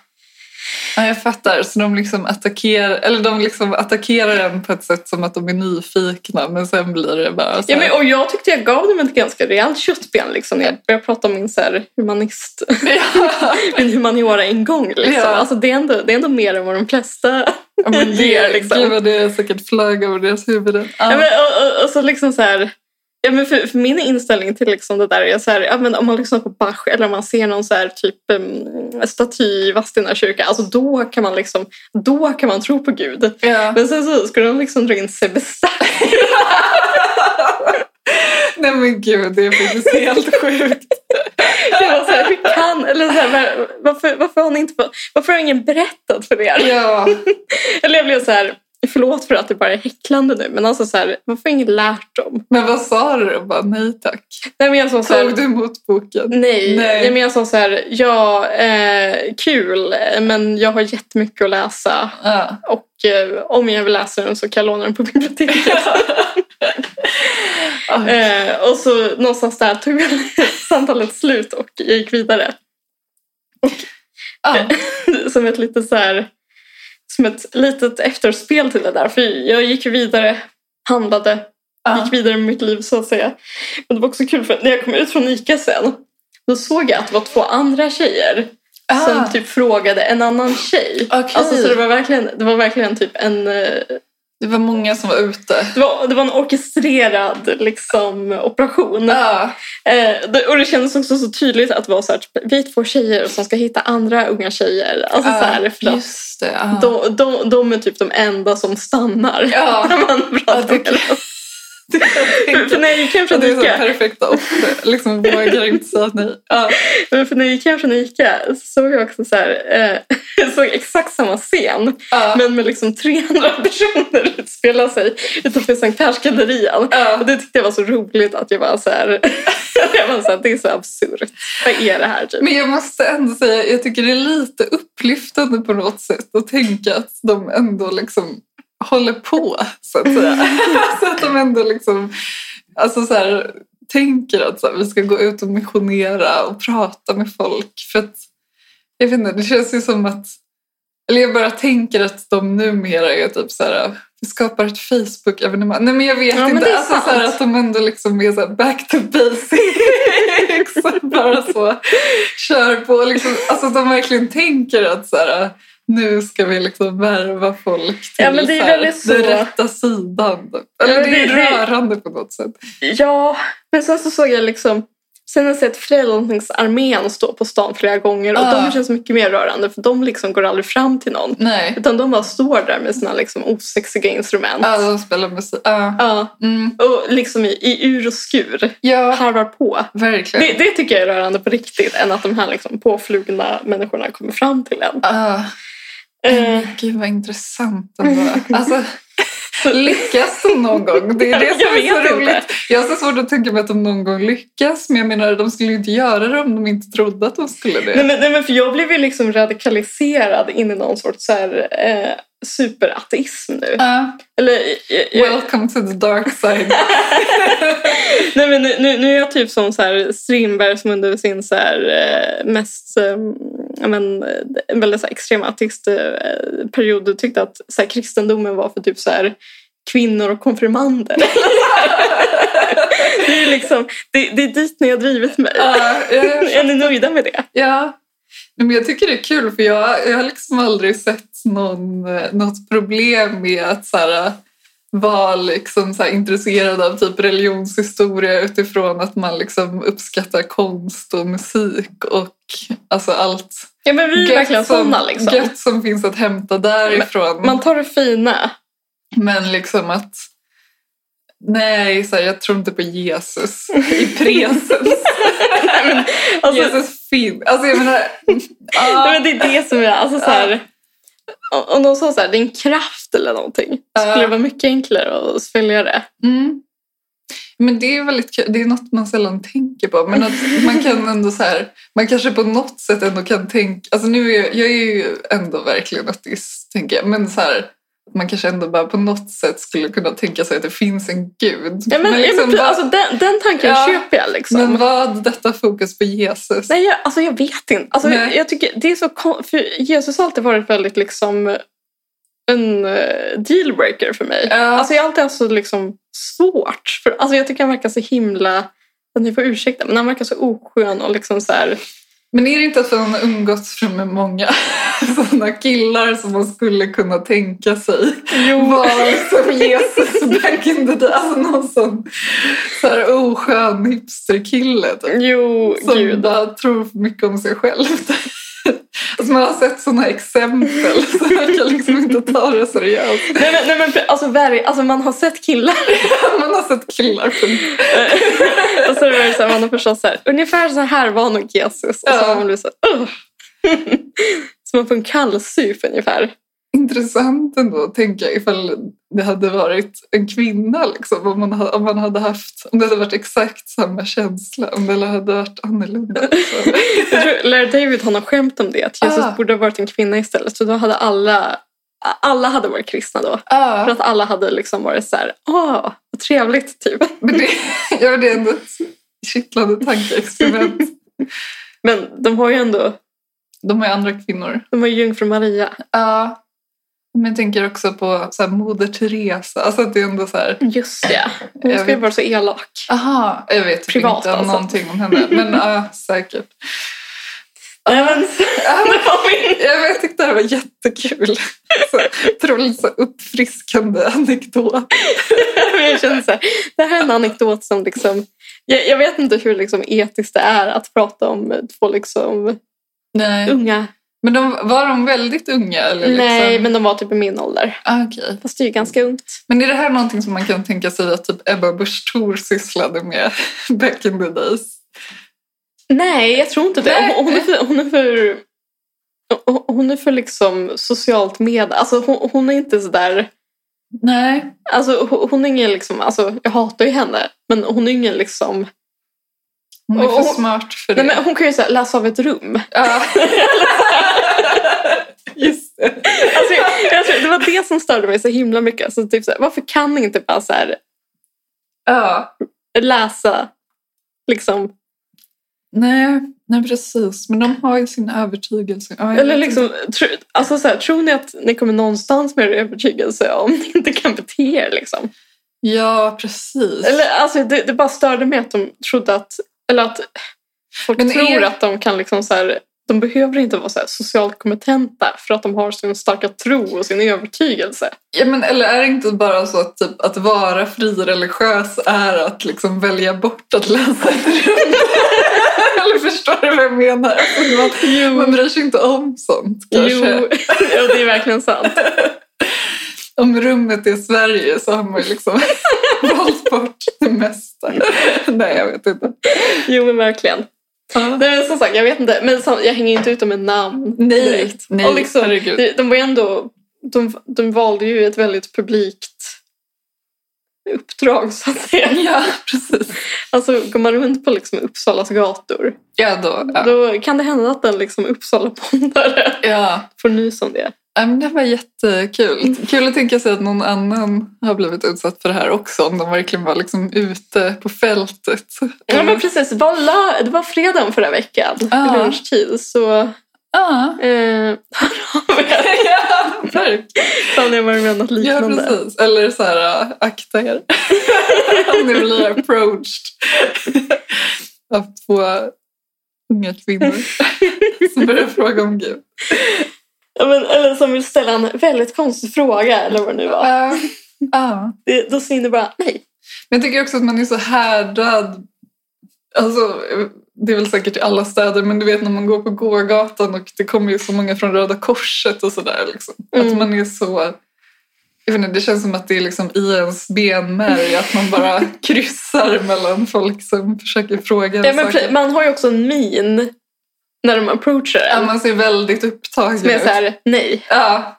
[SPEAKER 2] Ja, jag fattar. Så de liksom attackerar, eller de liksom attackerar en på ett sätt som att de är nyfikna men sen blir det bara så
[SPEAKER 3] Ja,
[SPEAKER 2] här, [LAUGHS]
[SPEAKER 3] men, och jag tyckte jag gav dem ett ganska rejält köttben liksom, när jag började prata om min så här, humanist, [LAUGHS]
[SPEAKER 2] ja,
[SPEAKER 3] min humaniora ingång. Liksom.
[SPEAKER 2] Ja.
[SPEAKER 3] Alltså, det, är ändå, det är ändå mer än vad de flesta...
[SPEAKER 2] men
[SPEAKER 3] ger,
[SPEAKER 2] det,
[SPEAKER 3] liksom.
[SPEAKER 2] Gud vad det säkert flög över deras huvuden.
[SPEAKER 3] Ja.
[SPEAKER 2] Ja.
[SPEAKER 3] men, och, och, och så liksom så här... Ja, men för, för min inställning till liksom det där är så här, ja, men om man lyssnar på Bach eller om man ser någon så här typ um, staty i Vadstena kyrka, alltså då kan man liksom, då kan man tro på Gud.
[SPEAKER 2] Ja.
[SPEAKER 3] Men sen så skulle de liksom dra in Sebbe Stax.
[SPEAKER 2] Nej men gud, det är faktiskt helt sjukt.
[SPEAKER 3] Jag var så här, hur kan, eller så här, var- varför, varför har ni inte, varför har ingen berättat för er?
[SPEAKER 2] Ja.
[SPEAKER 3] Eller jag blev så här, förlåt för att det bara är häcklande nu, men alltså så här, varför har ingen lärt dem?
[SPEAKER 2] Men vad sa du? Jag Bara, nej tack.
[SPEAKER 3] Nej men jag sa så här,
[SPEAKER 2] Tog du emot boken?
[SPEAKER 3] Nej,
[SPEAKER 2] Nej.
[SPEAKER 3] jag menar så så här, ja, eh, kul, men jag har jättemycket att läsa.
[SPEAKER 2] Ja.
[SPEAKER 3] Och eh, om jag vill läsa den så kan jag låna den
[SPEAKER 2] [LAUGHS]
[SPEAKER 3] på biblioteket.
[SPEAKER 2] Ja.
[SPEAKER 3] eh, och så någonstans där tog väl [LAUGHS] samtalet slut och jag gick vidare.
[SPEAKER 2] Ja.
[SPEAKER 3] som ett litet så här, som ett litet efterspel till det där. För jag gick vidare, handlade,
[SPEAKER 2] Ja.
[SPEAKER 3] gick vidare med mitt liv så att säga. Men det var också kul för när jag kom ut från Ica sen, då såg jag att det var två andra tjejer
[SPEAKER 2] Ah.
[SPEAKER 3] som typ frågade en annan tjej.
[SPEAKER 2] Okej.
[SPEAKER 3] Alltså, så det var verkligen, det var verkligen typ en eh,
[SPEAKER 2] Det var många som var ute.
[SPEAKER 3] Det var, det var en orkestrerad liksom, operation.
[SPEAKER 2] Ja,
[SPEAKER 3] Eh, det, och det kändes också så tydligt att det var så här, typ, vi är två tjejer som ska hitta andra unga tjejer. Alltså, så här, för att
[SPEAKER 2] Ah, just det. Ah. ja.
[SPEAKER 3] de, de, de är typ de enda som stannar
[SPEAKER 2] Ja.
[SPEAKER 3] [LAUGHS] när man
[SPEAKER 2] Ja,
[SPEAKER 3] pratar
[SPEAKER 2] Ah, det
[SPEAKER 3] med
[SPEAKER 2] kan
[SPEAKER 3] dem.
[SPEAKER 2] [LAUGHS] det kan jag tänka.
[SPEAKER 3] För- För när jag gick hem
[SPEAKER 2] Ja,
[SPEAKER 3] från
[SPEAKER 2] Det är så
[SPEAKER 3] Ica,
[SPEAKER 2] perfekta offer. Liksom vågar inte säga nej. Ah. Ja.
[SPEAKER 3] men för när jag gick hem från Ica så såg jag också så här, eh, [LAUGHS] jag såg exakt samma scen
[SPEAKER 2] Ja.
[SPEAKER 3] men med liksom 300 [LAUGHS] personer utspela sig utanför Sankt Persgallerian. Och
[SPEAKER 2] Ja.
[SPEAKER 3] det tyckte jag var så roligt att jag bara så här, [LAUGHS] jag bara så här det är så absurt. Vad är det här typ?
[SPEAKER 2] Men jag måste ändå säga, jag tycker det är lite upplyftande på något sätt att tänka att de ändå liksom håller på, så att säga.
[SPEAKER 3] [LAUGHS]
[SPEAKER 2] så att de ändå liksom, alltså så här, tänker att så här, vi ska gå ut och missionera och prata med folk. För att, jag vet inte, det känns ju som att, eller jag bara tänker att de numera är typ så här, vi skapar ett Facebook-evenemang. Nej men jag vet
[SPEAKER 3] Ja, men
[SPEAKER 2] inte,
[SPEAKER 3] det är
[SPEAKER 2] alltså så här,
[SPEAKER 3] sant.
[SPEAKER 2] att de ändå liksom är så här, back to
[SPEAKER 3] [LAUGHS]
[SPEAKER 2] basics. [LAUGHS] bara så kör på. Liksom, alltså att de verkligen tänker att så här, nu ska vi liksom värva folk till
[SPEAKER 3] Ja, men det är
[SPEAKER 2] så här,
[SPEAKER 3] väldigt
[SPEAKER 2] den
[SPEAKER 3] så.
[SPEAKER 2] rätta sidan. typ.
[SPEAKER 3] Ja,
[SPEAKER 2] Eller
[SPEAKER 3] men
[SPEAKER 2] det är
[SPEAKER 3] det- det-
[SPEAKER 2] rörande på något sätt.
[SPEAKER 3] Ja, men sen så såg jag liksom Sen har jag sett Frälsningsarmén stå på stan flera gånger och
[SPEAKER 2] Ja.
[SPEAKER 3] de känns mycket mer rörande för de liksom går aldrig fram till någon.
[SPEAKER 2] Nej,
[SPEAKER 3] Utan de bara står där med sina liksom osexiga instrument.
[SPEAKER 2] ja, de spelar musik. Ja.
[SPEAKER 3] Ja,
[SPEAKER 2] Mm.
[SPEAKER 3] och liksom i, i ur och skur.
[SPEAKER 2] ja,
[SPEAKER 3] Harvar på.
[SPEAKER 2] verkligen.
[SPEAKER 3] Det, det tycker jag är rörande på riktigt än att de här liksom påflugna människorna kommer fram till en.
[SPEAKER 2] Ah,
[SPEAKER 3] Eh,
[SPEAKER 2] gud vad intressant ändå. Alltså, lyckas de någon gång? Det är det som
[SPEAKER 3] [LAUGHS] Jag
[SPEAKER 2] är
[SPEAKER 3] vet
[SPEAKER 2] så
[SPEAKER 3] inte.
[SPEAKER 2] roligt. Jag har så svårt att tänka mig att de någon gång lyckas. Men jag menar, de skulle ju inte göra det om de inte trodde att de skulle det.
[SPEAKER 3] Nej men, nej men för jag blev ju liksom radikaliserad in i någon sorts så här, eh, superateism nu.
[SPEAKER 2] Ja.
[SPEAKER 3] Eller, eh, jag,
[SPEAKER 2] Welcome to the dark side.
[SPEAKER 3] nej men nu, nu, nu är jag typ som så här Strindberg som under sin så här, eh, mest eh, ja, men, eh, en väldigt så här extrem ateistperiod tyckte att så här, kristendomen var för typ så här kvinnor
[SPEAKER 2] [LAUGHS]
[SPEAKER 3] och konfirmander. det, är liksom, det, det är dit ni har drivit mig.
[SPEAKER 2] [LAUGHS] Ja, jag-
[SPEAKER 3] [LAUGHS] Är ni nöjda med det?
[SPEAKER 2] Ja. Nej, Men jag tycker det är kul för jag, jag har liksom aldrig sett någon, eh, något problem med att så här, eh, vara liksom så här, intresserad av typ religionshistoria utifrån att man liksom uppskattar konst och musik och alltså allt
[SPEAKER 3] Ja men vi är Mm, verkligen sådana liksom.
[SPEAKER 2] gött som finns att hämta därifrån.
[SPEAKER 3] Man tar det fina. [LAUGHS]
[SPEAKER 2] Men liksom att nej, så här, jag tror inte på Jesus
[SPEAKER 3] [LAUGHS]
[SPEAKER 2] i presens.
[SPEAKER 3] Alltså,
[SPEAKER 2] Jesus finns. Alltså jag
[SPEAKER 3] [LAUGHS]
[SPEAKER 2] menar... ja.
[SPEAKER 3] Nej, men det är det som jag... Alltså, så här, om- om de sa så här, det är en kraft eller någonting, så
[SPEAKER 2] Ja.
[SPEAKER 3] skulle det vara mycket enklare att följa det.
[SPEAKER 2] Mm. Men det är väldigt kul. Det är något man sällan tänker på. Men att man
[SPEAKER 3] [LAUGHS]
[SPEAKER 2] kan ändå så här, man kanske på något sätt ändå kan tänka, alltså nu är jag, jag är ju ändå verkligen ateist tänker jag, men så här, man kanske ändå bara på något sätt skulle kunna tänka sig att det finns en gud. liksom
[SPEAKER 3] Ja, men, ja, men,
[SPEAKER 2] vad,
[SPEAKER 3] alltså, den, den tanken
[SPEAKER 2] Ja.
[SPEAKER 3] köper jag. liksom.
[SPEAKER 2] men vad detta fokus på Jesus?
[SPEAKER 3] Nej, jag, alltså, jag vet inte. Alltså,
[SPEAKER 2] Nej.
[SPEAKER 3] jag tycker, det är så, kon- för Jesus har alltid varit väldigt liksom, en eh, dealbreaker för mig.
[SPEAKER 2] Ja.
[SPEAKER 3] Alltså, jag har alltid haft så liksom, svårt. För, alltså, jag tycker han verkar så himla... Ni får ursäkta, men han verkar så oskön och liksom så här...
[SPEAKER 2] Men är det inte att man har umgåtts med många [LAUGHS] sådana killar som man skulle kunna tänka sig var liksom Jesus back in the day? Alltså någon sån så här oskön hipsterkille typ,
[SPEAKER 3] Jo,
[SPEAKER 2] som
[SPEAKER 3] gud.
[SPEAKER 2] bara tror för mycket om sig själv. Alltså man har sett sådana exempel så man kan liksom inte ta det seriöst.
[SPEAKER 3] Nej men, nej, men för- alltså, verkligen, alltså man har sett
[SPEAKER 2] [LAUGHS]
[SPEAKER 3] killar
[SPEAKER 2] Man har sett killar på
[SPEAKER 3] och så är det verkligen så här, man har förstått så här, ungefär så här var nog Jesus. Och så
[SPEAKER 2] Ja.
[SPEAKER 3] har man blivit så här, "Ugh." [LAUGHS] Som man får en kallsup ungefär.
[SPEAKER 2] Intressant ändå att tänka ifall det hade varit en kvinna. Liksom, om, man, ha- om, man hade haft, om det hade varit exakt samma känsla. Om det hade varit annorlunda. Liksom.
[SPEAKER 3] Jag tror Larry David han har skämt om det, att Jesus
[SPEAKER 2] Ah.
[SPEAKER 3] borde ha varit en kvinna istället. Så då hade alla, alla hade varit kristna då. För
[SPEAKER 2] ja,
[SPEAKER 3] att alla hade liksom varit så här, åh, vad trevligt typ.
[SPEAKER 2] men det, [LAUGHS] ja, det är ändå ett kittlande tankeexperiment.
[SPEAKER 3] Men de har ju ändå,
[SPEAKER 2] De har ju andra kvinnor.
[SPEAKER 3] de har ju jungfru Maria.
[SPEAKER 2] Ja. Men jag tänker också på så här, Moder Teresa. Alltså att det är ändå så här...
[SPEAKER 3] Just det, hon
[SPEAKER 2] Jag
[SPEAKER 3] ska ju
[SPEAKER 2] vet.
[SPEAKER 3] vara så elak.
[SPEAKER 2] [LAUGHS] Aha, jag vet typ
[SPEAKER 3] Privat,
[SPEAKER 2] inte
[SPEAKER 3] alltså.
[SPEAKER 2] någonting om henne. Men ja, säkert.
[SPEAKER 3] Nej, men, det var min
[SPEAKER 2] Jag vet, tyckte det här var jättekul. Så, otroligt så uppfriskande anekdot.
[SPEAKER 3] [LAUGHS] jag känner så här, det här är en anekdot som liksom... Jag, jag vet inte hur liksom etiskt det är att prata om två liksom
[SPEAKER 2] Nej.
[SPEAKER 3] unga.
[SPEAKER 2] Men de, var de väldigt unga? Eller liksom?
[SPEAKER 3] Nej, men de var typ i min ålder.
[SPEAKER 2] Ah, okej.
[SPEAKER 3] Fast det är ju ganska ungt.
[SPEAKER 2] Men är det här någonting som man kan tänka sig att typ Ebba Busch Thor sysslade med [LAUGHS] back in the days?
[SPEAKER 3] Nej, jag tror inte det.
[SPEAKER 2] Nej.
[SPEAKER 3] Hon, hon, är för, hon är för... Hon är för liksom socialt med... Alltså hon, hon är inte sådär...
[SPEAKER 2] Nej.
[SPEAKER 3] Alltså hon- hon är ingen liksom... Alltså jag hatar ju henne. Men hon är ingen liksom...
[SPEAKER 2] Hon är för
[SPEAKER 3] Och- och-
[SPEAKER 2] smart för det.
[SPEAKER 3] Nej, men hon kan ju så här, läsa av ett rum.
[SPEAKER 2] Ja. [LAUGHS] Just det.
[SPEAKER 3] Alltså, jag, jag tror, det var det som störde mig så himla mycket. Alltså, typ så här, varför kan ni inte bara så här,
[SPEAKER 2] Ja.
[SPEAKER 3] läsa liksom,
[SPEAKER 2] Nej, nej, precis. Men de har ju sin övertygelse. Ja, jag
[SPEAKER 3] eller
[SPEAKER 2] vet
[SPEAKER 3] liksom, tro, alltså, så här, tror ni att ni kommer någonstans med er övertygelse om ni inte kan bete er? Liksom?
[SPEAKER 2] Ja, precis.
[SPEAKER 3] Eller, alltså, det, det bara störde mig att de trodde att, eller att folk
[SPEAKER 2] Men
[SPEAKER 3] tror
[SPEAKER 2] är-
[SPEAKER 3] att de kan liksom så här, de behöver inte vara så här socialt kompetenta för att de har sin starka tro och sin övertygelse.
[SPEAKER 2] Ja, men, eller är det inte bara så att typ, att vara frireligiös är att liksom välja bort att läsa ett rum? [LAUGHS] eller förstår du vad jag menar? Alltså, man,
[SPEAKER 3] Jo,
[SPEAKER 2] man bryr sig inte om sånt
[SPEAKER 3] jo.
[SPEAKER 2] kanske.
[SPEAKER 3] ja, det är verkligen sant.
[SPEAKER 2] Om rummet är Sverige så har man ju
[SPEAKER 3] [LAUGHS]
[SPEAKER 2] liksom valt bort det mesta. Nej, jag vet inte.
[SPEAKER 3] Jo, men verkligen.
[SPEAKER 2] Ja.
[SPEAKER 3] Nej, men som sagt, jag vet inte. Men sam- jag hänger inte ut dem med namn
[SPEAKER 2] Nej,
[SPEAKER 3] direkt.
[SPEAKER 2] nej,
[SPEAKER 3] och liksom,
[SPEAKER 2] herregud.
[SPEAKER 3] de, de var ju ändå... De, de valde ju ett väldigt publikt uppdrag, så att säga.
[SPEAKER 2] Ja, precis.
[SPEAKER 3] Alltså, går man runt på liksom Uppsalas gator,
[SPEAKER 2] Ja, då. Ja.
[SPEAKER 3] då kan det hända att en liksom Uppsala-pondare
[SPEAKER 2] ja.
[SPEAKER 3] får nys om det.
[SPEAKER 2] Ja, men det var jättekul. Kul att tänka sig att någon annan har blivit utsatt för det här också. Om de verkligen var liksom ute på fältet.
[SPEAKER 3] Ja, men precis. Det var, la, det var fredagen förra veckan,
[SPEAKER 2] Mm. Ja.
[SPEAKER 3] vid lunchtid. Så [LAUGHS]
[SPEAKER 2] Ja.
[SPEAKER 3] eh, hör av er
[SPEAKER 2] Ja, verkligen.
[SPEAKER 3] ifall ni har varit med om något
[SPEAKER 2] ja,
[SPEAKER 3] liknande.
[SPEAKER 2] precis. Eller så här, äh, akta er. Om ni blir approached av två unga kvinnor som börjar fråga om Gud.
[SPEAKER 3] Ja, men, eller som vill ställa en väldigt konstig fråga, eller vad det nu var.
[SPEAKER 2] Ja. Ehm, Ja.
[SPEAKER 3] Det, då säger ni bara nej.
[SPEAKER 2] Men jag tycker också att man är så härdad. Alltså, det är väl säkert i alla städer, men du vet när man går på gågatan och det kommer ju så många från Röda Korset och sådär. Liksom. Att
[SPEAKER 3] Mm.
[SPEAKER 2] man är så... Jag vet inte, det känns som att det är liksom i ens benmärg att man
[SPEAKER 3] [LAUGHS]
[SPEAKER 2] bara kryssar mellan folk som försöker fråga en
[SPEAKER 3] Ja, men
[SPEAKER 2] saker.
[SPEAKER 3] pre- man har ju också en min när de approachar
[SPEAKER 2] Ja,
[SPEAKER 3] en.
[SPEAKER 2] man ser väldigt upptagen
[SPEAKER 3] som är
[SPEAKER 2] ut.
[SPEAKER 3] så här, nej.
[SPEAKER 2] Ja.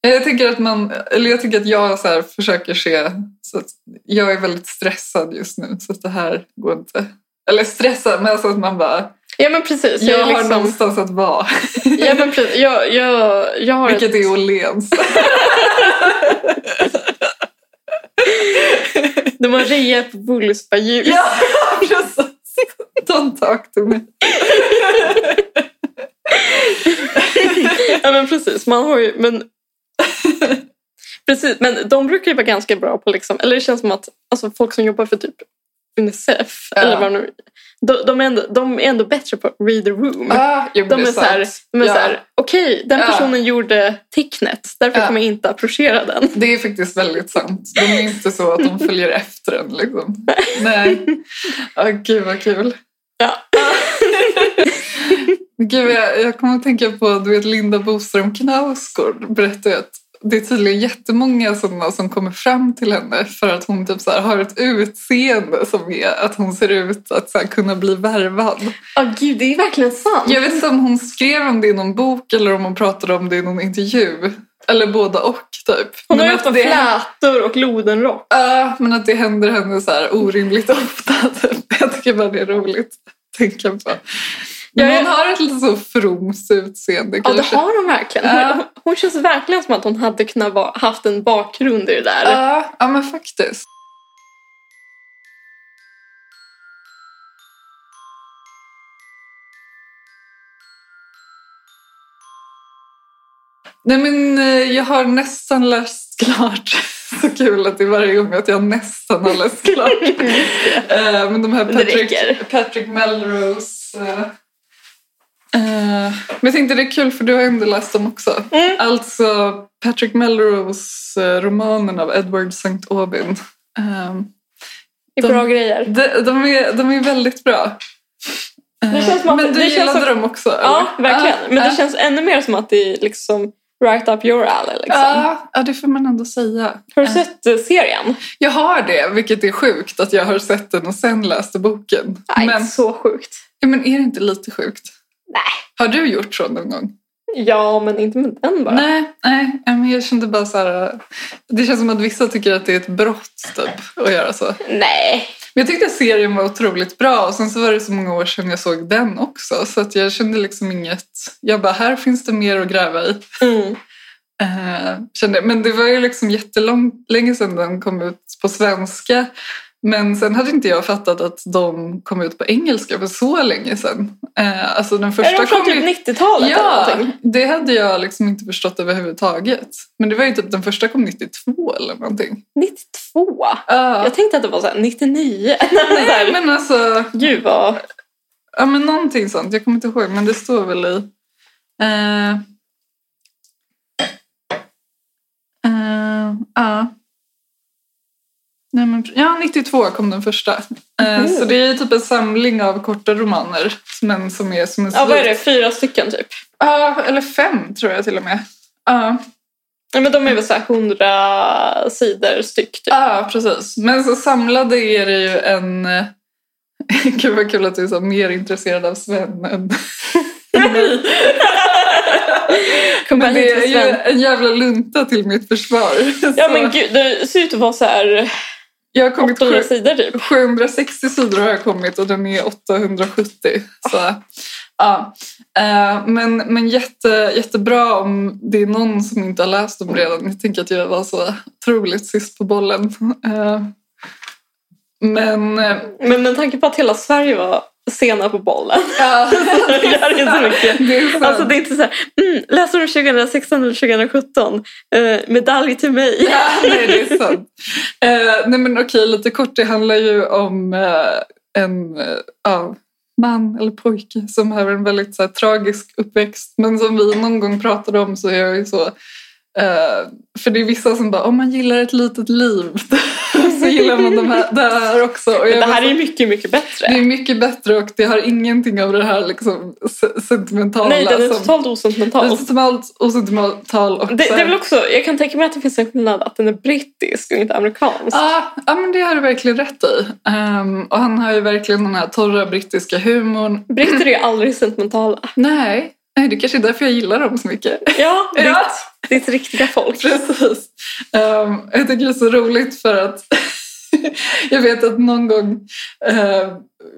[SPEAKER 2] Jag tänker att man, eller jag tycker att jag så här försöker se, så att jag är väldigt stressad just nu så att det här går inte. Eller stressad, men alltså att man bara,
[SPEAKER 3] Ja men precis.
[SPEAKER 2] jag
[SPEAKER 3] Jag,
[SPEAKER 2] har
[SPEAKER 3] liksom,
[SPEAKER 2] någonstans att vara.
[SPEAKER 3] ja, men precis. jag, jag, jag har
[SPEAKER 2] Vilket
[SPEAKER 3] ett,
[SPEAKER 2] är Åhléns.
[SPEAKER 3] De har rejält
[SPEAKER 2] [LAUGHS]
[SPEAKER 3] bullsbajus.
[SPEAKER 2] ja, precis. Don't talk to me.
[SPEAKER 3] ja men precis. Man har ju,
[SPEAKER 2] [LAUGHS]
[SPEAKER 3] men... precis, men de brukar ju vara ganska bra på liksom, eller det känns som att alltså, folk som jobbar för typ Unicef,
[SPEAKER 2] Ja.
[SPEAKER 3] eller vad de, nu- de, de, är ändå, de är ändå bättre på att read the room.
[SPEAKER 2] Ah, jo, men
[SPEAKER 3] De
[SPEAKER 2] det
[SPEAKER 3] är så här,
[SPEAKER 2] sant.
[SPEAKER 3] de är
[SPEAKER 2] Ja.
[SPEAKER 3] så här okej, den
[SPEAKER 2] Ja.
[SPEAKER 3] personen gjorde tecknet, därför
[SPEAKER 2] Ja.
[SPEAKER 3] kommer jag inte approchera den.
[SPEAKER 2] Det är faktiskt väldigt sant. De är inte så att de följer efter en.
[SPEAKER 3] [LAUGHS]
[SPEAKER 2] Liksom. Nej. Oh, gud vad kul.
[SPEAKER 3] Ja.
[SPEAKER 2] [LAUGHS] gud, jag, jag kommer att tänka på du vet, Linda Boström Knausgård berättade att det är tydligen jättemånga sådana som kommer fram till henne för att hon typ så här, har ett utseende som är att hon ser ut att så här, kunna bli värvad.
[SPEAKER 3] Ja, gud, det är verkligen sant.
[SPEAKER 2] Jag vet inte om hon skrev om det i någon bok eller om hon pratade om det i någon intervju. Eller båda och typ.
[SPEAKER 3] Hon har
[SPEAKER 2] Men
[SPEAKER 3] ju
[SPEAKER 2] att
[SPEAKER 3] haft
[SPEAKER 2] det-
[SPEAKER 3] flätor och lodenrock.
[SPEAKER 2] Ja, Ah, men att det händer henne så här orimligt ofta. [LAUGHS] typ. Jag tycker bara det är roligt att tänka på. Men
[SPEAKER 3] Jag är-
[SPEAKER 2] hon har ett lite så fromt utseende
[SPEAKER 3] Ja, det
[SPEAKER 2] kanske.
[SPEAKER 3] har hon verkligen.
[SPEAKER 2] Ja.
[SPEAKER 3] Hon, Typ. hon känns verkligen som att hon hade kunnat va, haft en bakgrund i det där.
[SPEAKER 2] Ja, ja, men faktiskt. Nej men eh, jag har nästan läst klart. [LAUGHS] Så kul att det är varje gång att jag nästan har läst klart. Eh, Men de här
[SPEAKER 3] Det
[SPEAKER 2] Patrick,
[SPEAKER 3] räcker.
[SPEAKER 2] Patrick Melrose eh, Eh, men jag tänkte det är kul för du har ju ändå läst dem också.
[SPEAKER 3] Mm.
[SPEAKER 2] Alltså Patrick Melrose eh, romanen av Edward St. Aubyn. Ehm,
[SPEAKER 3] Det är
[SPEAKER 2] De-
[SPEAKER 3] bra grejer.
[SPEAKER 2] de, de, är, de är väldigt bra. Eh,
[SPEAKER 3] Det känns som att-
[SPEAKER 2] men du
[SPEAKER 3] det känns
[SPEAKER 2] gillade
[SPEAKER 3] som-
[SPEAKER 2] dem också?
[SPEAKER 3] Ja,
[SPEAKER 2] eller?
[SPEAKER 3] verkligen. Men
[SPEAKER 2] ja.
[SPEAKER 3] det känns ännu mer som att det är liksom right up your alley. Liksom.
[SPEAKER 2] Ja, ja, det får man ändå säga.
[SPEAKER 3] Har du
[SPEAKER 2] Eh,
[SPEAKER 3] sett eh, serien?
[SPEAKER 2] Jag har det, vilket är sjukt att jag har sett den och sen läste boken.
[SPEAKER 3] Nej,
[SPEAKER 2] Men,
[SPEAKER 3] så sjukt.
[SPEAKER 2] ja, men är det inte lite sjukt?
[SPEAKER 3] Nej.
[SPEAKER 2] Har du gjort så någon gång?
[SPEAKER 3] Ja, men inte med den bara.
[SPEAKER 2] Nej, nej, ja, men jag kände bara så här... Det känns som att vissa tycker att det är ett brott typ, att göra så. Men
[SPEAKER 3] Nej.
[SPEAKER 2] jag tyckte att serien var otroligt bra och sen så var det så många år sedan jag såg den också. Så att jag kände liksom inget... Jag bara, här finns det mer att gräva i.
[SPEAKER 3] Mm.
[SPEAKER 2] Eh, kände, men det var ju liksom jättelänge sedan den kom ut på svenska. Men sen hade inte jag fattat att de kom ut på engelska för så länge sedan. Eh, alltså den första
[SPEAKER 3] Är de från
[SPEAKER 2] kom ju...
[SPEAKER 3] typ 90-talet eller
[SPEAKER 2] Ja,
[SPEAKER 3] någonting?
[SPEAKER 2] det hade jag liksom inte förstått överhuvudtaget. Men det var ju typ den första kom 92 eller någonting.
[SPEAKER 3] 92?
[SPEAKER 2] Ja,
[SPEAKER 3] Jag tänkte att det var så här 99. [LAUGHS] Nej, så här,
[SPEAKER 2] men alltså,
[SPEAKER 3] Gud vad...
[SPEAKER 2] ja men någonting sånt. Jag kommer inte ihåg, men det står väl i... Eh, eh, ja. Nej, men, ja, 92 kom den första. Eh,
[SPEAKER 3] Mhm.
[SPEAKER 2] Så det är ju typ en samling av korta romaner. Men som är som en
[SPEAKER 3] Ja, vad är
[SPEAKER 2] slut.
[SPEAKER 3] det? Fyra stycken typ.
[SPEAKER 2] Ja, eller fem tror jag till och med. Ja.
[SPEAKER 3] Ja, men de är väl så här 100 sidor styck typ.
[SPEAKER 2] Ja, precis. Men så samlade är det ju en... [LAUGHS] Gud vad kul att du är så mer intresserad av Sven
[SPEAKER 3] [LAUGHS]
[SPEAKER 2] än...
[SPEAKER 3] Kom bara
[SPEAKER 2] Men
[SPEAKER 3] hit
[SPEAKER 2] det
[SPEAKER 3] med
[SPEAKER 2] är
[SPEAKER 3] Sven.
[SPEAKER 2] ju en jävla lunta till mitt försvar. [LAUGHS]
[SPEAKER 3] Ja
[SPEAKER 2] Så
[SPEAKER 3] men gud, det ser ut att vara så här
[SPEAKER 2] jag har kommit
[SPEAKER 3] 800
[SPEAKER 2] sju-
[SPEAKER 3] sidor typ.
[SPEAKER 2] 760 sidor har jag kommit och den är 870. Så, ja. Eh, Men, men jätte, jättebra om det är någon som inte har läst dem redan. Jag tänker att jag var så otroligt sist på bollen. Eh, Men eh,
[SPEAKER 3] Men med tanke på att hela Sverige var sena på [LAUGHS] bollen.
[SPEAKER 2] ja, [LAUGHS]
[SPEAKER 3] Det gör inte så mycket.
[SPEAKER 2] det är sant.
[SPEAKER 3] Alltså det är inte så här, mm, läsår 2016 eller 2017, eh, medalj till mig.
[SPEAKER 2] [LAUGHS] Ja, nej, det är sant. Eh, nej, men okej, lite kort. Det handlar ju om eh, en eh, ja, man eller pojke som har en väldigt så här, tragisk uppväxt. Men som vi någon gång pratade om så är jag ju så... eh, för det är vissa som bara, om man gillar ett litet liv [LAUGHS] så gillar man de här, det här också. Och jag
[SPEAKER 3] Men det
[SPEAKER 2] bara
[SPEAKER 3] här
[SPEAKER 2] så-
[SPEAKER 3] är ju mycket, mycket bättre.
[SPEAKER 2] det är mycket bättre och det har ingenting av det här liksom, se- sentimentala.
[SPEAKER 3] Nej, den är
[SPEAKER 2] som-
[SPEAKER 3] totalt osentimental.
[SPEAKER 2] Det är totalt osentimental. och
[SPEAKER 3] Det,
[SPEAKER 2] så
[SPEAKER 3] det
[SPEAKER 2] här-
[SPEAKER 3] är väl också, jag kan tänka mig att det finns en skillnad att den är brittisk och inte amerikansk.
[SPEAKER 2] Ja, ja men det har du verkligen rätt i. Ehm, och han har ju verkligen den här torra brittiska humorn.
[SPEAKER 3] Britter är ju aldrig sentimentala.
[SPEAKER 2] Nej, nej det kanske är därför jag gillar dem så mycket. [LAUGHS]
[SPEAKER 3] Ja,
[SPEAKER 2] Ja.
[SPEAKER 3] ditt, ditt riktiga folk.
[SPEAKER 2] Precis. Ehm, jag tycker det är så roligt för att [LAUGHS] jag vet att någon gång, eh,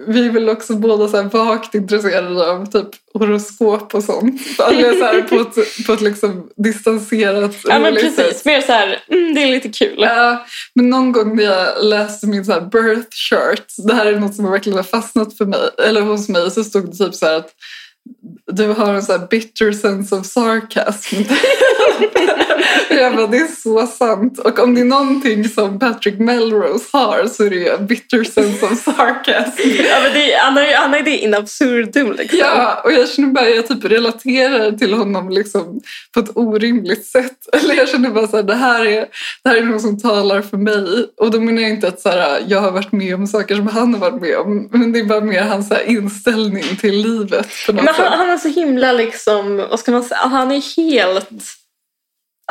[SPEAKER 2] vi är väl också båda så här vagt intresserade av typ horoskop och sånt. Eller så här på ett, på ett liksom distanserat,
[SPEAKER 3] Ja men
[SPEAKER 2] roligt sätt.
[SPEAKER 3] precis, mer så här, mm, det är lite kul.
[SPEAKER 2] Ja, men någon gång när jag läste min så här birth chart, det här är något som verkligen har fastnat för mig, eller hos mig, så stod det typ så här att du har en så här bitter sense of sarcasm. [LAUGHS] Och jag bara, det är så sant. Och om det är någonting som Patrick Melrose har så är det ju en bitter sense of sarcasm.
[SPEAKER 3] Ja, men det, han har ju- han har ju det in absurdum liksom.
[SPEAKER 2] Ja, och jag känner bara jag typ relaterar till honom liksom på ett orimligt sätt. [LAUGHS] Eller jag känner bara så här, det här är, det här är någon som talar för mig. Och då menar jag inte att så här, jag har varit med om saker som han har varit med om. Men det är bara mer hans så här, inställning till livet på något
[SPEAKER 3] Men han,
[SPEAKER 2] sätt.
[SPEAKER 3] han är så himla liksom, vad ska man säga, han är helt...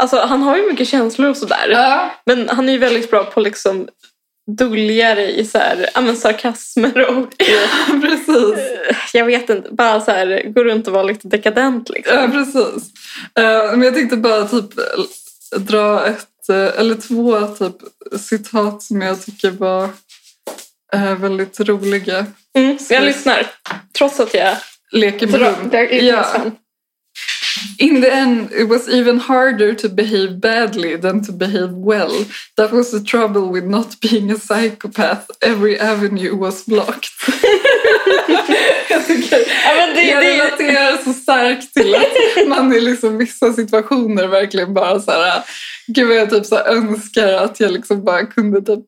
[SPEAKER 3] Alltså han har ju mycket känslor och sådär.
[SPEAKER 2] Ja, [LAUGHS]
[SPEAKER 3] Men han är ju väldigt bra på att liksom dölja det i så här, ja, men sarkasmer och eh,
[SPEAKER 2] precis.
[SPEAKER 3] jag vet inte, bara så här gå runt och vara lite dekadent liksom.
[SPEAKER 2] Ja, precis. Eh, Men jag tänkte bara typ eh, dra ett eh, eller två typ citat som jag tycker var eh, väldigt roliga.
[SPEAKER 3] Mm, jag lyssnar, trots att jag
[SPEAKER 2] Leker med rum.
[SPEAKER 3] drar ut
[SPEAKER 2] Ja.
[SPEAKER 3] liksom.
[SPEAKER 2] In the end, it was even harder to behave badly than to behave well. That was the trouble with not being a psychopath. Every avenue was blocked. jag tycker,
[SPEAKER 3] Ja, men [LAUGHS] det,
[SPEAKER 2] jag
[SPEAKER 3] det,
[SPEAKER 2] relaterar så starkt till att man i liksom vissa situationer verkligen bara så här, gud vad jag typ så här önskar att jag liksom bara kunde typ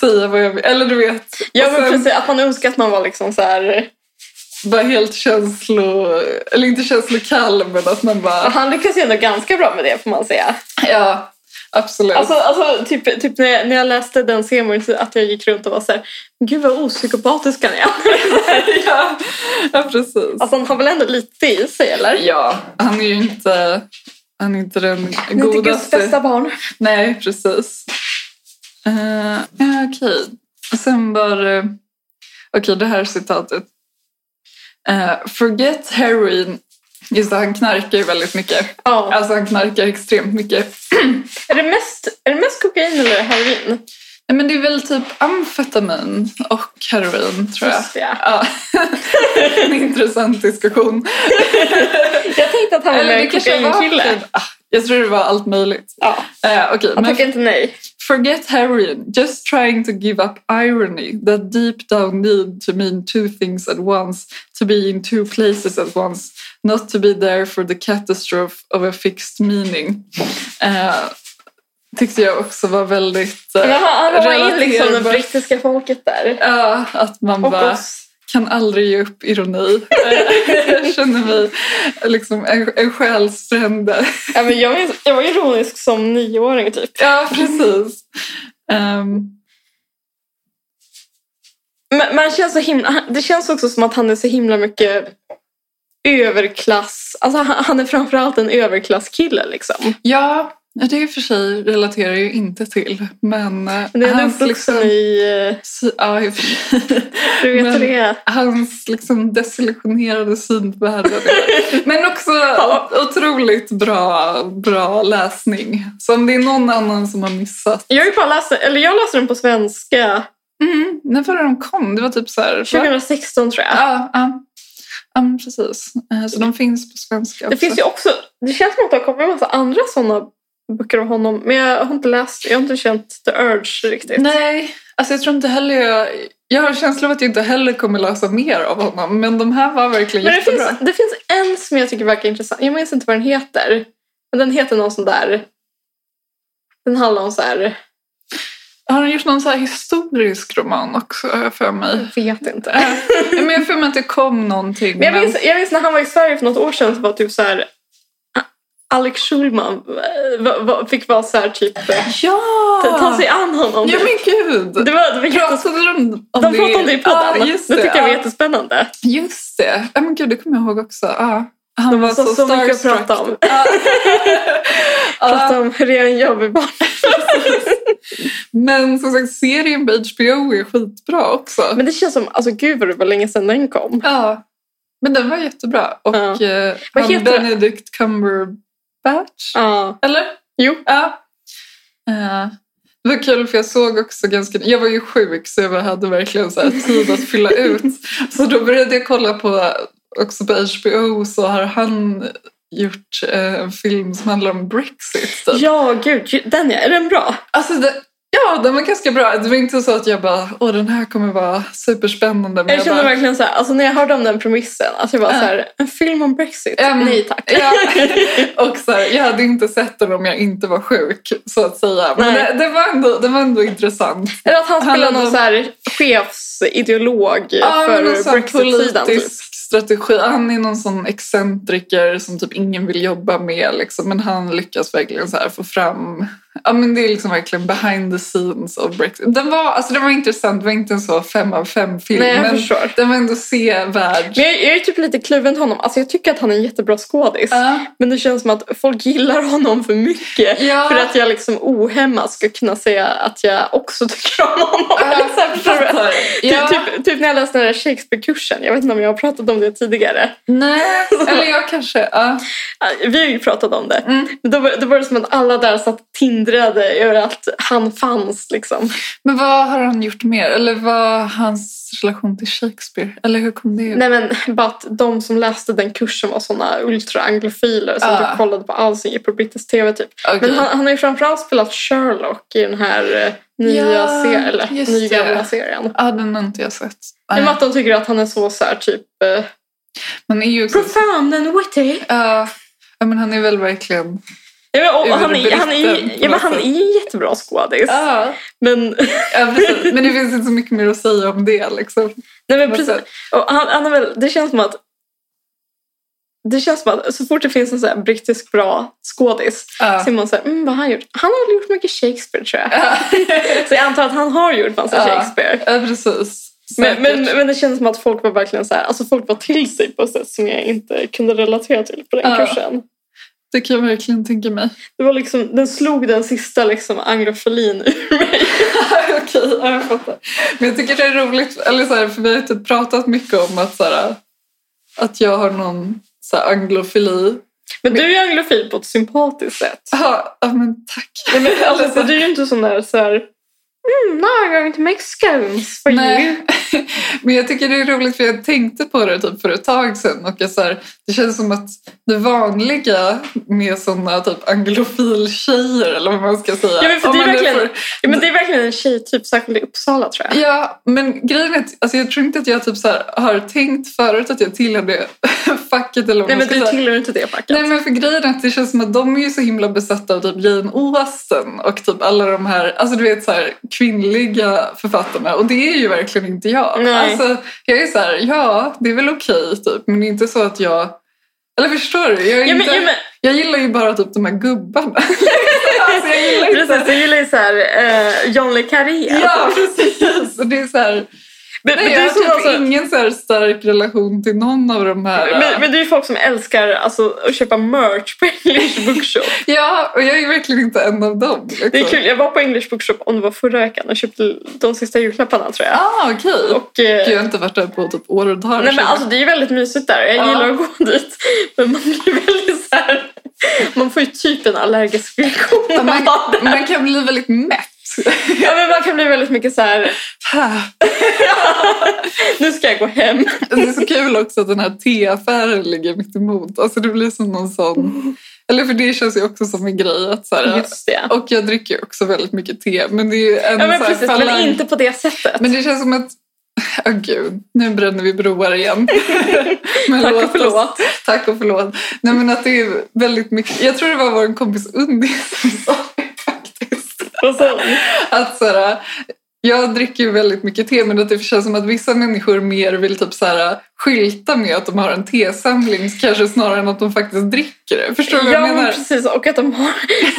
[SPEAKER 2] säga vad jag vill. Eller du vet.
[SPEAKER 3] ja,
[SPEAKER 2] Och
[SPEAKER 3] men
[SPEAKER 2] sen-
[SPEAKER 3] precis, att man önskar att man var liksom så här
[SPEAKER 2] Bara helt känslo... Eller inte känslokall, men att man bara...
[SPEAKER 3] Han lyckas ju ändå ganska bra med det får man säga.
[SPEAKER 2] Ja, absolut.
[SPEAKER 3] Alltså, alltså typ, typ när, jag, när jag läste den serien så att jag gick runt och var så här, gud vad opsykopatisk han är. [LAUGHS]
[SPEAKER 2] [LAUGHS] ja, ja, precis.
[SPEAKER 3] Alltså han har väl ändå lite i sig eller?
[SPEAKER 2] Ja, han är ju inte... Han är inte den
[SPEAKER 3] Han är Inte Guds
[SPEAKER 2] godaste.
[SPEAKER 3] bästa barn.
[SPEAKER 2] Nej, precis. Eh, ja, Okej. Sen var det... Okej, det här citatet. Eh, Forget heroin. Just det, han knarkar ju väldigt mycket.
[SPEAKER 3] Ja.
[SPEAKER 2] Alltså han knarkar extremt mycket.
[SPEAKER 3] Är, det mest, är det mest kokain eller heroin?
[SPEAKER 2] Nej, men det är väl typ amfetamin och heroin, tror jag.
[SPEAKER 3] Just det, ja.
[SPEAKER 2] Ja. [LAUGHS] en intressant diskussion.
[SPEAKER 3] Jag tänkte att han var mer en kokainkille.
[SPEAKER 2] typ- ah, Jag tror det var allt möjligt.
[SPEAKER 3] Ja,
[SPEAKER 2] Eh, Okej,
[SPEAKER 3] han
[SPEAKER 2] men
[SPEAKER 3] tackar inte nej.
[SPEAKER 2] Forget heroin, just trying to give up irony, that deep down need to mean two things at once, to be in two places at once, not to be there for the catastrophe of a fixed meaning. Eh, tyckte jag också var väldigt... eh,
[SPEAKER 3] Men han han var in
[SPEAKER 2] relaterbar.
[SPEAKER 3] liksom det brittiska folket där.
[SPEAKER 2] ja, att man
[SPEAKER 3] Och
[SPEAKER 2] bara
[SPEAKER 3] oss.
[SPEAKER 2] kan aldrig ge upp
[SPEAKER 3] [LAUGHS]
[SPEAKER 2] ironi. Eh, [LAUGHS] jag känner mig liksom en, en själsfrände.
[SPEAKER 3] Ja, men jag, minns- jag var ironisk som nioåring typ.
[SPEAKER 2] [LAUGHS] Ja, precis. Ehm,
[SPEAKER 3] Men man känns så himla, han- det känns också som att han är så himla mycket överklass. Alltså han han är framförallt en överklasskille liksom.
[SPEAKER 2] Ja, det i och för sig relaterar jag ju inte till. Men eh,
[SPEAKER 3] Men det är
[SPEAKER 2] hans,
[SPEAKER 3] uppvuxen
[SPEAKER 2] liksom,
[SPEAKER 3] i... eh,
[SPEAKER 2] sy- ja, i och för sig. [LAUGHS]
[SPEAKER 3] Du vet
[SPEAKER 2] Men-
[SPEAKER 3] hur det är.
[SPEAKER 2] hans liksom desillusionerade syn på världen.
[SPEAKER 3] [LAUGHS]
[SPEAKER 2] Men också otroligt bra, bra läsning. Så om det är någon annan som har missat.
[SPEAKER 3] Jag, har ju bara läst, eller jag läste den på svenska
[SPEAKER 2] Mm, när var det de kom? Det var typ så här... va?
[SPEAKER 3] 2016 tror jag.
[SPEAKER 2] Ja, ja. Ja, men precis. Eh, Så de finns på svenska
[SPEAKER 3] Det
[SPEAKER 2] också.
[SPEAKER 3] finns ju också... Det känns som att det har kommit en massa andra sådana böcker av honom. Men jag har inte läst... Jag har inte känt the urge riktigt.
[SPEAKER 2] Nej, alltså jag tror inte heller jag... Jag har en känsla av att jag inte heller kommer läsa mer av honom. Men de här var verkligen
[SPEAKER 3] Men det
[SPEAKER 2] jättebra.
[SPEAKER 3] finns, det finns en som jag tycker verkar intressant. Jag minns inte vad den heter. Men den heter någon sån där... Den handlar om så här...
[SPEAKER 2] Har han gjort någon så här historisk roman också, har jag för mig?
[SPEAKER 3] [LAUGHS] Jag vet inte.
[SPEAKER 2] Eh, men jag har för mig att det kom någonting.
[SPEAKER 3] Men jag minns, jag minns när han var i Sverige för något år sedan så var typ så här... Alex Schulman eh, va- va- fick vara så här typ... eh,
[SPEAKER 2] Ja!
[SPEAKER 3] Ta sig an honom.
[SPEAKER 2] Ja, men gud!
[SPEAKER 3] Det var, det var jättes...
[SPEAKER 2] Pratade de om
[SPEAKER 3] De pratade om det i podden.
[SPEAKER 2] Ja, just
[SPEAKER 3] det
[SPEAKER 2] det.
[SPEAKER 3] tyckte jag var
[SPEAKER 2] ja.
[SPEAKER 3] jättespännande.
[SPEAKER 2] Just det. Ja, men gud, det kommer jag ihåg också. Ja. Han
[SPEAKER 3] De
[SPEAKER 2] var
[SPEAKER 3] har så-
[SPEAKER 2] så,
[SPEAKER 3] så mycket att
[SPEAKER 2] starstruck.
[SPEAKER 3] prata om. [LAUGHS]
[SPEAKER 2] Ja. Ja.
[SPEAKER 3] Prata om hur det är en jobbig barn.
[SPEAKER 2] Men som sagt, serien på HBO är skitbra också.
[SPEAKER 3] Men det känns som, alltså gud vad det var länge sedan den kom.
[SPEAKER 2] Ja, men den var jättebra. Och
[SPEAKER 3] Ja.
[SPEAKER 2] eh,
[SPEAKER 3] Vad
[SPEAKER 2] han
[SPEAKER 3] heter den?
[SPEAKER 2] Benedict Cumberbatch,
[SPEAKER 3] Ja.
[SPEAKER 2] eller?
[SPEAKER 3] Jo.
[SPEAKER 2] Ja. Eh, det var kul för jag såg också ganska... Jag var ju sjuk så jag bara hade verkligen så här tid att fylla
[SPEAKER 3] [LAUGHS]
[SPEAKER 2] ut. Så då började jag kolla på, också på HBO, så har han gjort eh, en film som handlar om Brexit. Typ.
[SPEAKER 3] Ja, gud. ju- Den ja. Är den bra?
[SPEAKER 2] Alltså det, ja, den var ganska bra. Det var inte så att jag bara, åh den här kommer vara superspännande. Men
[SPEAKER 3] Jag kände
[SPEAKER 2] bara,
[SPEAKER 3] verkligen så här, alltså när jag hörde om den premissen, alltså jag var
[SPEAKER 2] Ja.
[SPEAKER 3] så här, en film om Brexit?
[SPEAKER 2] Ehm,
[SPEAKER 3] Nej
[SPEAKER 2] [LAUGHS]
[SPEAKER 3] tack.
[SPEAKER 2] Ja.
[SPEAKER 3] [LAUGHS]
[SPEAKER 2] Och så här, jag hade inte sett den om jag inte var sjuk, så att säga. Men
[SPEAKER 3] Nej.
[SPEAKER 2] det, det, var ändå, det var ändå intressant.
[SPEAKER 3] Eller att han
[SPEAKER 2] Han
[SPEAKER 3] spelar
[SPEAKER 2] hade-
[SPEAKER 3] någon så här chefsideolog
[SPEAKER 2] Ja, men någon
[SPEAKER 3] för
[SPEAKER 2] sån
[SPEAKER 3] Brexit-sidan. typ.
[SPEAKER 2] politisk strategi. Han är någon sån excentriker som typ ingen vill jobba med. Liksom. Men han lyckas verkligen så här få fram... Ja, men det är liksom verkligen behind the scenes av Brexit. Den var, alltså, den var intressant. Det var inte en så fem av fem-film.
[SPEAKER 3] Nej, jag
[SPEAKER 2] Men
[SPEAKER 3] förstår.
[SPEAKER 2] den var ändå sevärd.
[SPEAKER 3] Men jag, jag är typ lite kluven till honom. Alltså jag tycker att han är en jättebra skådis.
[SPEAKER 2] Ja.
[SPEAKER 3] Men det känns som att folk gillar honom för mycket.
[SPEAKER 2] Ja.
[SPEAKER 3] För att jag liksom ohämmat ska kunna säga att jag också tycker om honom.
[SPEAKER 2] Ja,
[SPEAKER 3] Eller [LAUGHS] så här, förstår du?
[SPEAKER 2] fattar. Ja.
[SPEAKER 3] Typ, typ, typ när jag läste den där Shakespeare-kursen. Jag vet inte om jag har pratat om det tidigare.
[SPEAKER 2] Nej, eller jag kanske. Ja.
[SPEAKER 3] Vi har ju pratat om det.
[SPEAKER 2] Mm.
[SPEAKER 3] Men Då, var- då var det som att alla där satt och tindrade över att han fanns. Liksom.
[SPEAKER 2] Men vad har han gjort mer? Eller vad är hans relation till Shakespeare? Eller hur kom det ut?
[SPEAKER 3] Nej men bara att de som läste den kursen var såna ultraanglofiler som
[SPEAKER 2] Ah.
[SPEAKER 3] typ kollade på allt som gick på brittisk tv. Typ.
[SPEAKER 2] Okej.
[SPEAKER 3] Men han, han har ju framförallt spelat Sherlock i den här eh, nya,
[SPEAKER 2] Ja,
[SPEAKER 3] serien, eller,
[SPEAKER 2] just
[SPEAKER 3] nya
[SPEAKER 2] det.
[SPEAKER 3] gamla serien.
[SPEAKER 2] Ja, den har inte jag sett.
[SPEAKER 3] Nej. men att de tycker att han är så, så här, typ eh,
[SPEAKER 2] Man är ju också...
[SPEAKER 3] profound and witty.
[SPEAKER 2] Ja, ja, men han är väl verkligen
[SPEAKER 3] Ja, men, och han, är,
[SPEAKER 2] Urbritten
[SPEAKER 3] han, är, ju-
[SPEAKER 2] på
[SPEAKER 3] ja, men
[SPEAKER 2] något
[SPEAKER 3] han är
[SPEAKER 2] sätt.
[SPEAKER 3] en jättebra skådis.
[SPEAKER 2] Ja.
[SPEAKER 3] Men
[SPEAKER 2] Ja, precis. Men det finns inte så mycket mer att säga om det. Liksom.
[SPEAKER 3] Nej, men
[SPEAKER 2] Vad
[SPEAKER 3] precis. Och han, han är väl, det känns som att det känns som att så fort det finns en så här brittisk bra skådis
[SPEAKER 2] Ja.
[SPEAKER 3] så är man så här, mm, vad har han gjort? Han har väl gjort mycket Shakespeare tror
[SPEAKER 2] [LAUGHS]
[SPEAKER 3] jag.
[SPEAKER 2] Ja.
[SPEAKER 3] Så jag antar att han har gjort massa
[SPEAKER 2] Ja.
[SPEAKER 3] Shakespeare.
[SPEAKER 2] [LAUGHS] ja, precis.
[SPEAKER 3] Men,
[SPEAKER 2] Säkert.
[SPEAKER 3] men, men det känns som att folk var verkligen så här, alltså folk var till sig på ett sätt som jag inte kunde relatera till på den
[SPEAKER 2] Ja.
[SPEAKER 3] kursen.
[SPEAKER 2] Det kan jag verkligen tänka mig. [LAUGHS]
[SPEAKER 3] Det var liksom, den slog den sista liksom anglofilin ur mig.
[SPEAKER 2] Okej, ja, jag fattar. Men jag tycker det är roligt, eller så här, för vi har ju typ pratat mycket om att, så här, att jag har någon så här, anglofili.
[SPEAKER 3] Men du är anglofil på ett sympatiskt sätt.
[SPEAKER 2] Ja, ja, men tack.
[SPEAKER 3] Nej, [LAUGHS] men alltså, du är ju inte sån där så här... Mm, no, I'm going to Mexicans for you.
[SPEAKER 2] Nej. [LAUGHS] Men jag tycker det är roligt för jag tänkte på det typ för ett tag sedan och jag, så här, det känns som att det vanliga med sådana typ anglofiltjejer eller vad man ska säga.
[SPEAKER 3] Ja, men för
[SPEAKER 2] om
[SPEAKER 3] det är
[SPEAKER 2] man nu
[SPEAKER 3] verkligen-
[SPEAKER 2] får-
[SPEAKER 3] Ja, men det är verkligen en typ, tjejtyp, särskilt i Uppsala tror jag.
[SPEAKER 2] Ja, men grejen är att alltså, jag tror inte att jag typ så här, har tänkt förut att jag tillhör det [LAUGHS] facket eller vad
[SPEAKER 3] Nej,
[SPEAKER 2] man
[SPEAKER 3] men
[SPEAKER 2] ska
[SPEAKER 3] du
[SPEAKER 2] säga.
[SPEAKER 3] tillhör inte det facket.
[SPEAKER 2] Nej men för grejen är att det känns som att de är ju så himla besatta av typ Jane Austen och typ alla de här, alltså du vet så här kvinnliga författarna och det är ju verkligen inte jag.
[SPEAKER 3] Nej.
[SPEAKER 2] Alltså jag är så här, ja det är väl okej typ men det är inte så att jag, eller förstår du? Jag, är
[SPEAKER 3] Ja, men,
[SPEAKER 2] inte,
[SPEAKER 3] ja, men,
[SPEAKER 2] jag gillar ju bara typ de här gubbarna. [LAUGHS] alltså, jag gillar
[SPEAKER 3] [LAUGHS]
[SPEAKER 2] inte...
[SPEAKER 3] precis, jag gillar ju såhär eh, John le Carré. Alltså,
[SPEAKER 2] Ja precis! Och det är så här,
[SPEAKER 3] men,
[SPEAKER 2] nej,
[SPEAKER 3] men, det är
[SPEAKER 2] jag har
[SPEAKER 3] som
[SPEAKER 2] typ
[SPEAKER 3] alltså,
[SPEAKER 2] ingen så här stark relation till någon av de här.
[SPEAKER 3] men, men det är ju folk som älskar alltså, att köpa merch på [LAUGHS] English Bookshop.
[SPEAKER 2] Ja, och jag är verkligen inte en av dem. Liksom.
[SPEAKER 3] Det är kul, jag var på English Bookshop om det var förra veckan och köpte de sista julklapparna tror jag.
[SPEAKER 2] Ah, okej.
[SPEAKER 3] Och, eh,
[SPEAKER 2] Gud, jag har inte varit där på typ år och dagar.
[SPEAKER 3] Nej, men
[SPEAKER 2] sedan.
[SPEAKER 3] alltså, det är ju väldigt mysigt där. Jag
[SPEAKER 2] Ja.
[SPEAKER 3] gillar att gå dit. Men man blir väldigt så här... Man får ju typ en allergisk reaktion.
[SPEAKER 2] Ja,
[SPEAKER 3] av
[SPEAKER 2] man,
[SPEAKER 3] det.
[SPEAKER 2] man kan bli väldigt mätt.
[SPEAKER 3] Ja, men man kan bli väldigt mycket så här... Nu ska jag gå hem.
[SPEAKER 2] Det är så kul också att den här teaffären ligger mitt emot. Alltså det blir som någon sån... Eller för det känns ju också som en grej att så här,
[SPEAKER 3] Just det.
[SPEAKER 2] Och jag dricker ju också väldigt mycket te. Men det är ju en
[SPEAKER 3] Ja, men
[SPEAKER 2] så här
[SPEAKER 3] precis. Men
[SPEAKER 2] falang-
[SPEAKER 3] inte på det sättet.
[SPEAKER 2] men det känns som att... Ja, gud. Nu bränner vi broar
[SPEAKER 3] [LAUGHS]
[SPEAKER 2] igen. Men
[SPEAKER 3] Tack
[SPEAKER 2] låt
[SPEAKER 3] och
[SPEAKER 2] oss-
[SPEAKER 3] förlåt.
[SPEAKER 2] Tack och förlåt. Nej, men att det är väldigt mycket... Jag tror det var vår kompis Unni som sa det faktiskt.
[SPEAKER 3] Och så,
[SPEAKER 2] att så här, jag dricker ju väldigt mycket te men att det typ känns som att vissa människor mer vill typ så här, skylta med att de har en tesamling kanske snarare än att de faktiskt dricker det. Förstår du vad
[SPEAKER 3] ja,
[SPEAKER 2] jag
[SPEAKER 3] men
[SPEAKER 2] menar?
[SPEAKER 3] precis. Och att de har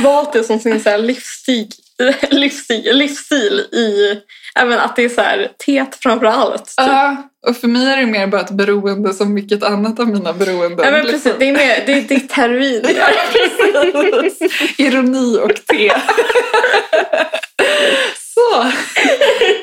[SPEAKER 3] valt det som sin så här livsstil, livsstil, livsstil i... Även att det är så här teet framför allt. Typ.
[SPEAKER 2] Ja, och för mig är det mer bara ett beroende som vilket annat av mina beroenden.
[SPEAKER 3] Ja, men
[SPEAKER 2] liksom.
[SPEAKER 3] precis. Det är, mer, det är ditt heroin.
[SPEAKER 2] Ironi och
[SPEAKER 3] [LAUGHS]
[SPEAKER 2] te. Så,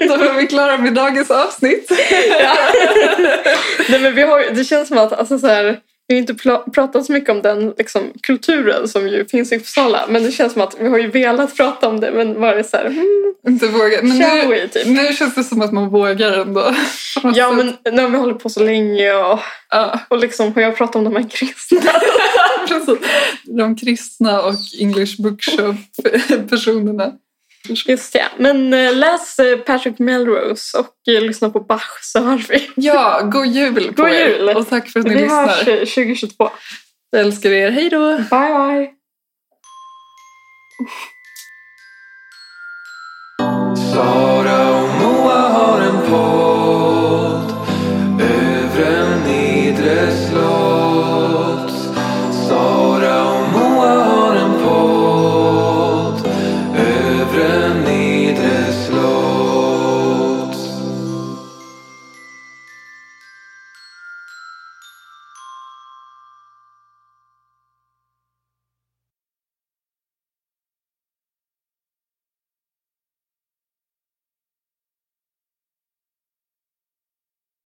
[SPEAKER 2] då var vi klara med dagens avsnitt.
[SPEAKER 3] [LAUGHS] Nej, men vi har, det känns som att alltså, så här, vi har inte pla- pratat så mycket om den liksom, kulturen som ju finns i Uppsala. Men det känns som att vi har ju velat prata om det men bara så här, hmm,
[SPEAKER 2] Inte vågar. Men
[SPEAKER 3] shall
[SPEAKER 2] nu,
[SPEAKER 3] we, typ.
[SPEAKER 2] nu känns det som att man vågar ändå. på något sätt.
[SPEAKER 3] Ja men nu har vi hållit på så länge och,
[SPEAKER 2] Ja.
[SPEAKER 3] och liksom har jag pratat om de här kristna.
[SPEAKER 2] Precis. Alltså, De kristna och English bookshop-personerna.
[SPEAKER 3] [LAUGHS] Just det. Men eh, läs eh, Patrick Melrose och eh, lyssna på Bach så hörs vi.
[SPEAKER 2] Ja, god jul på
[SPEAKER 3] God
[SPEAKER 2] er.
[SPEAKER 3] jul.
[SPEAKER 2] Och tack för att ni
[SPEAKER 3] Vi
[SPEAKER 2] lyssnar.
[SPEAKER 3] hörs eh, 2022.
[SPEAKER 2] Jag älskar er. Hej då!
[SPEAKER 3] Bye bye.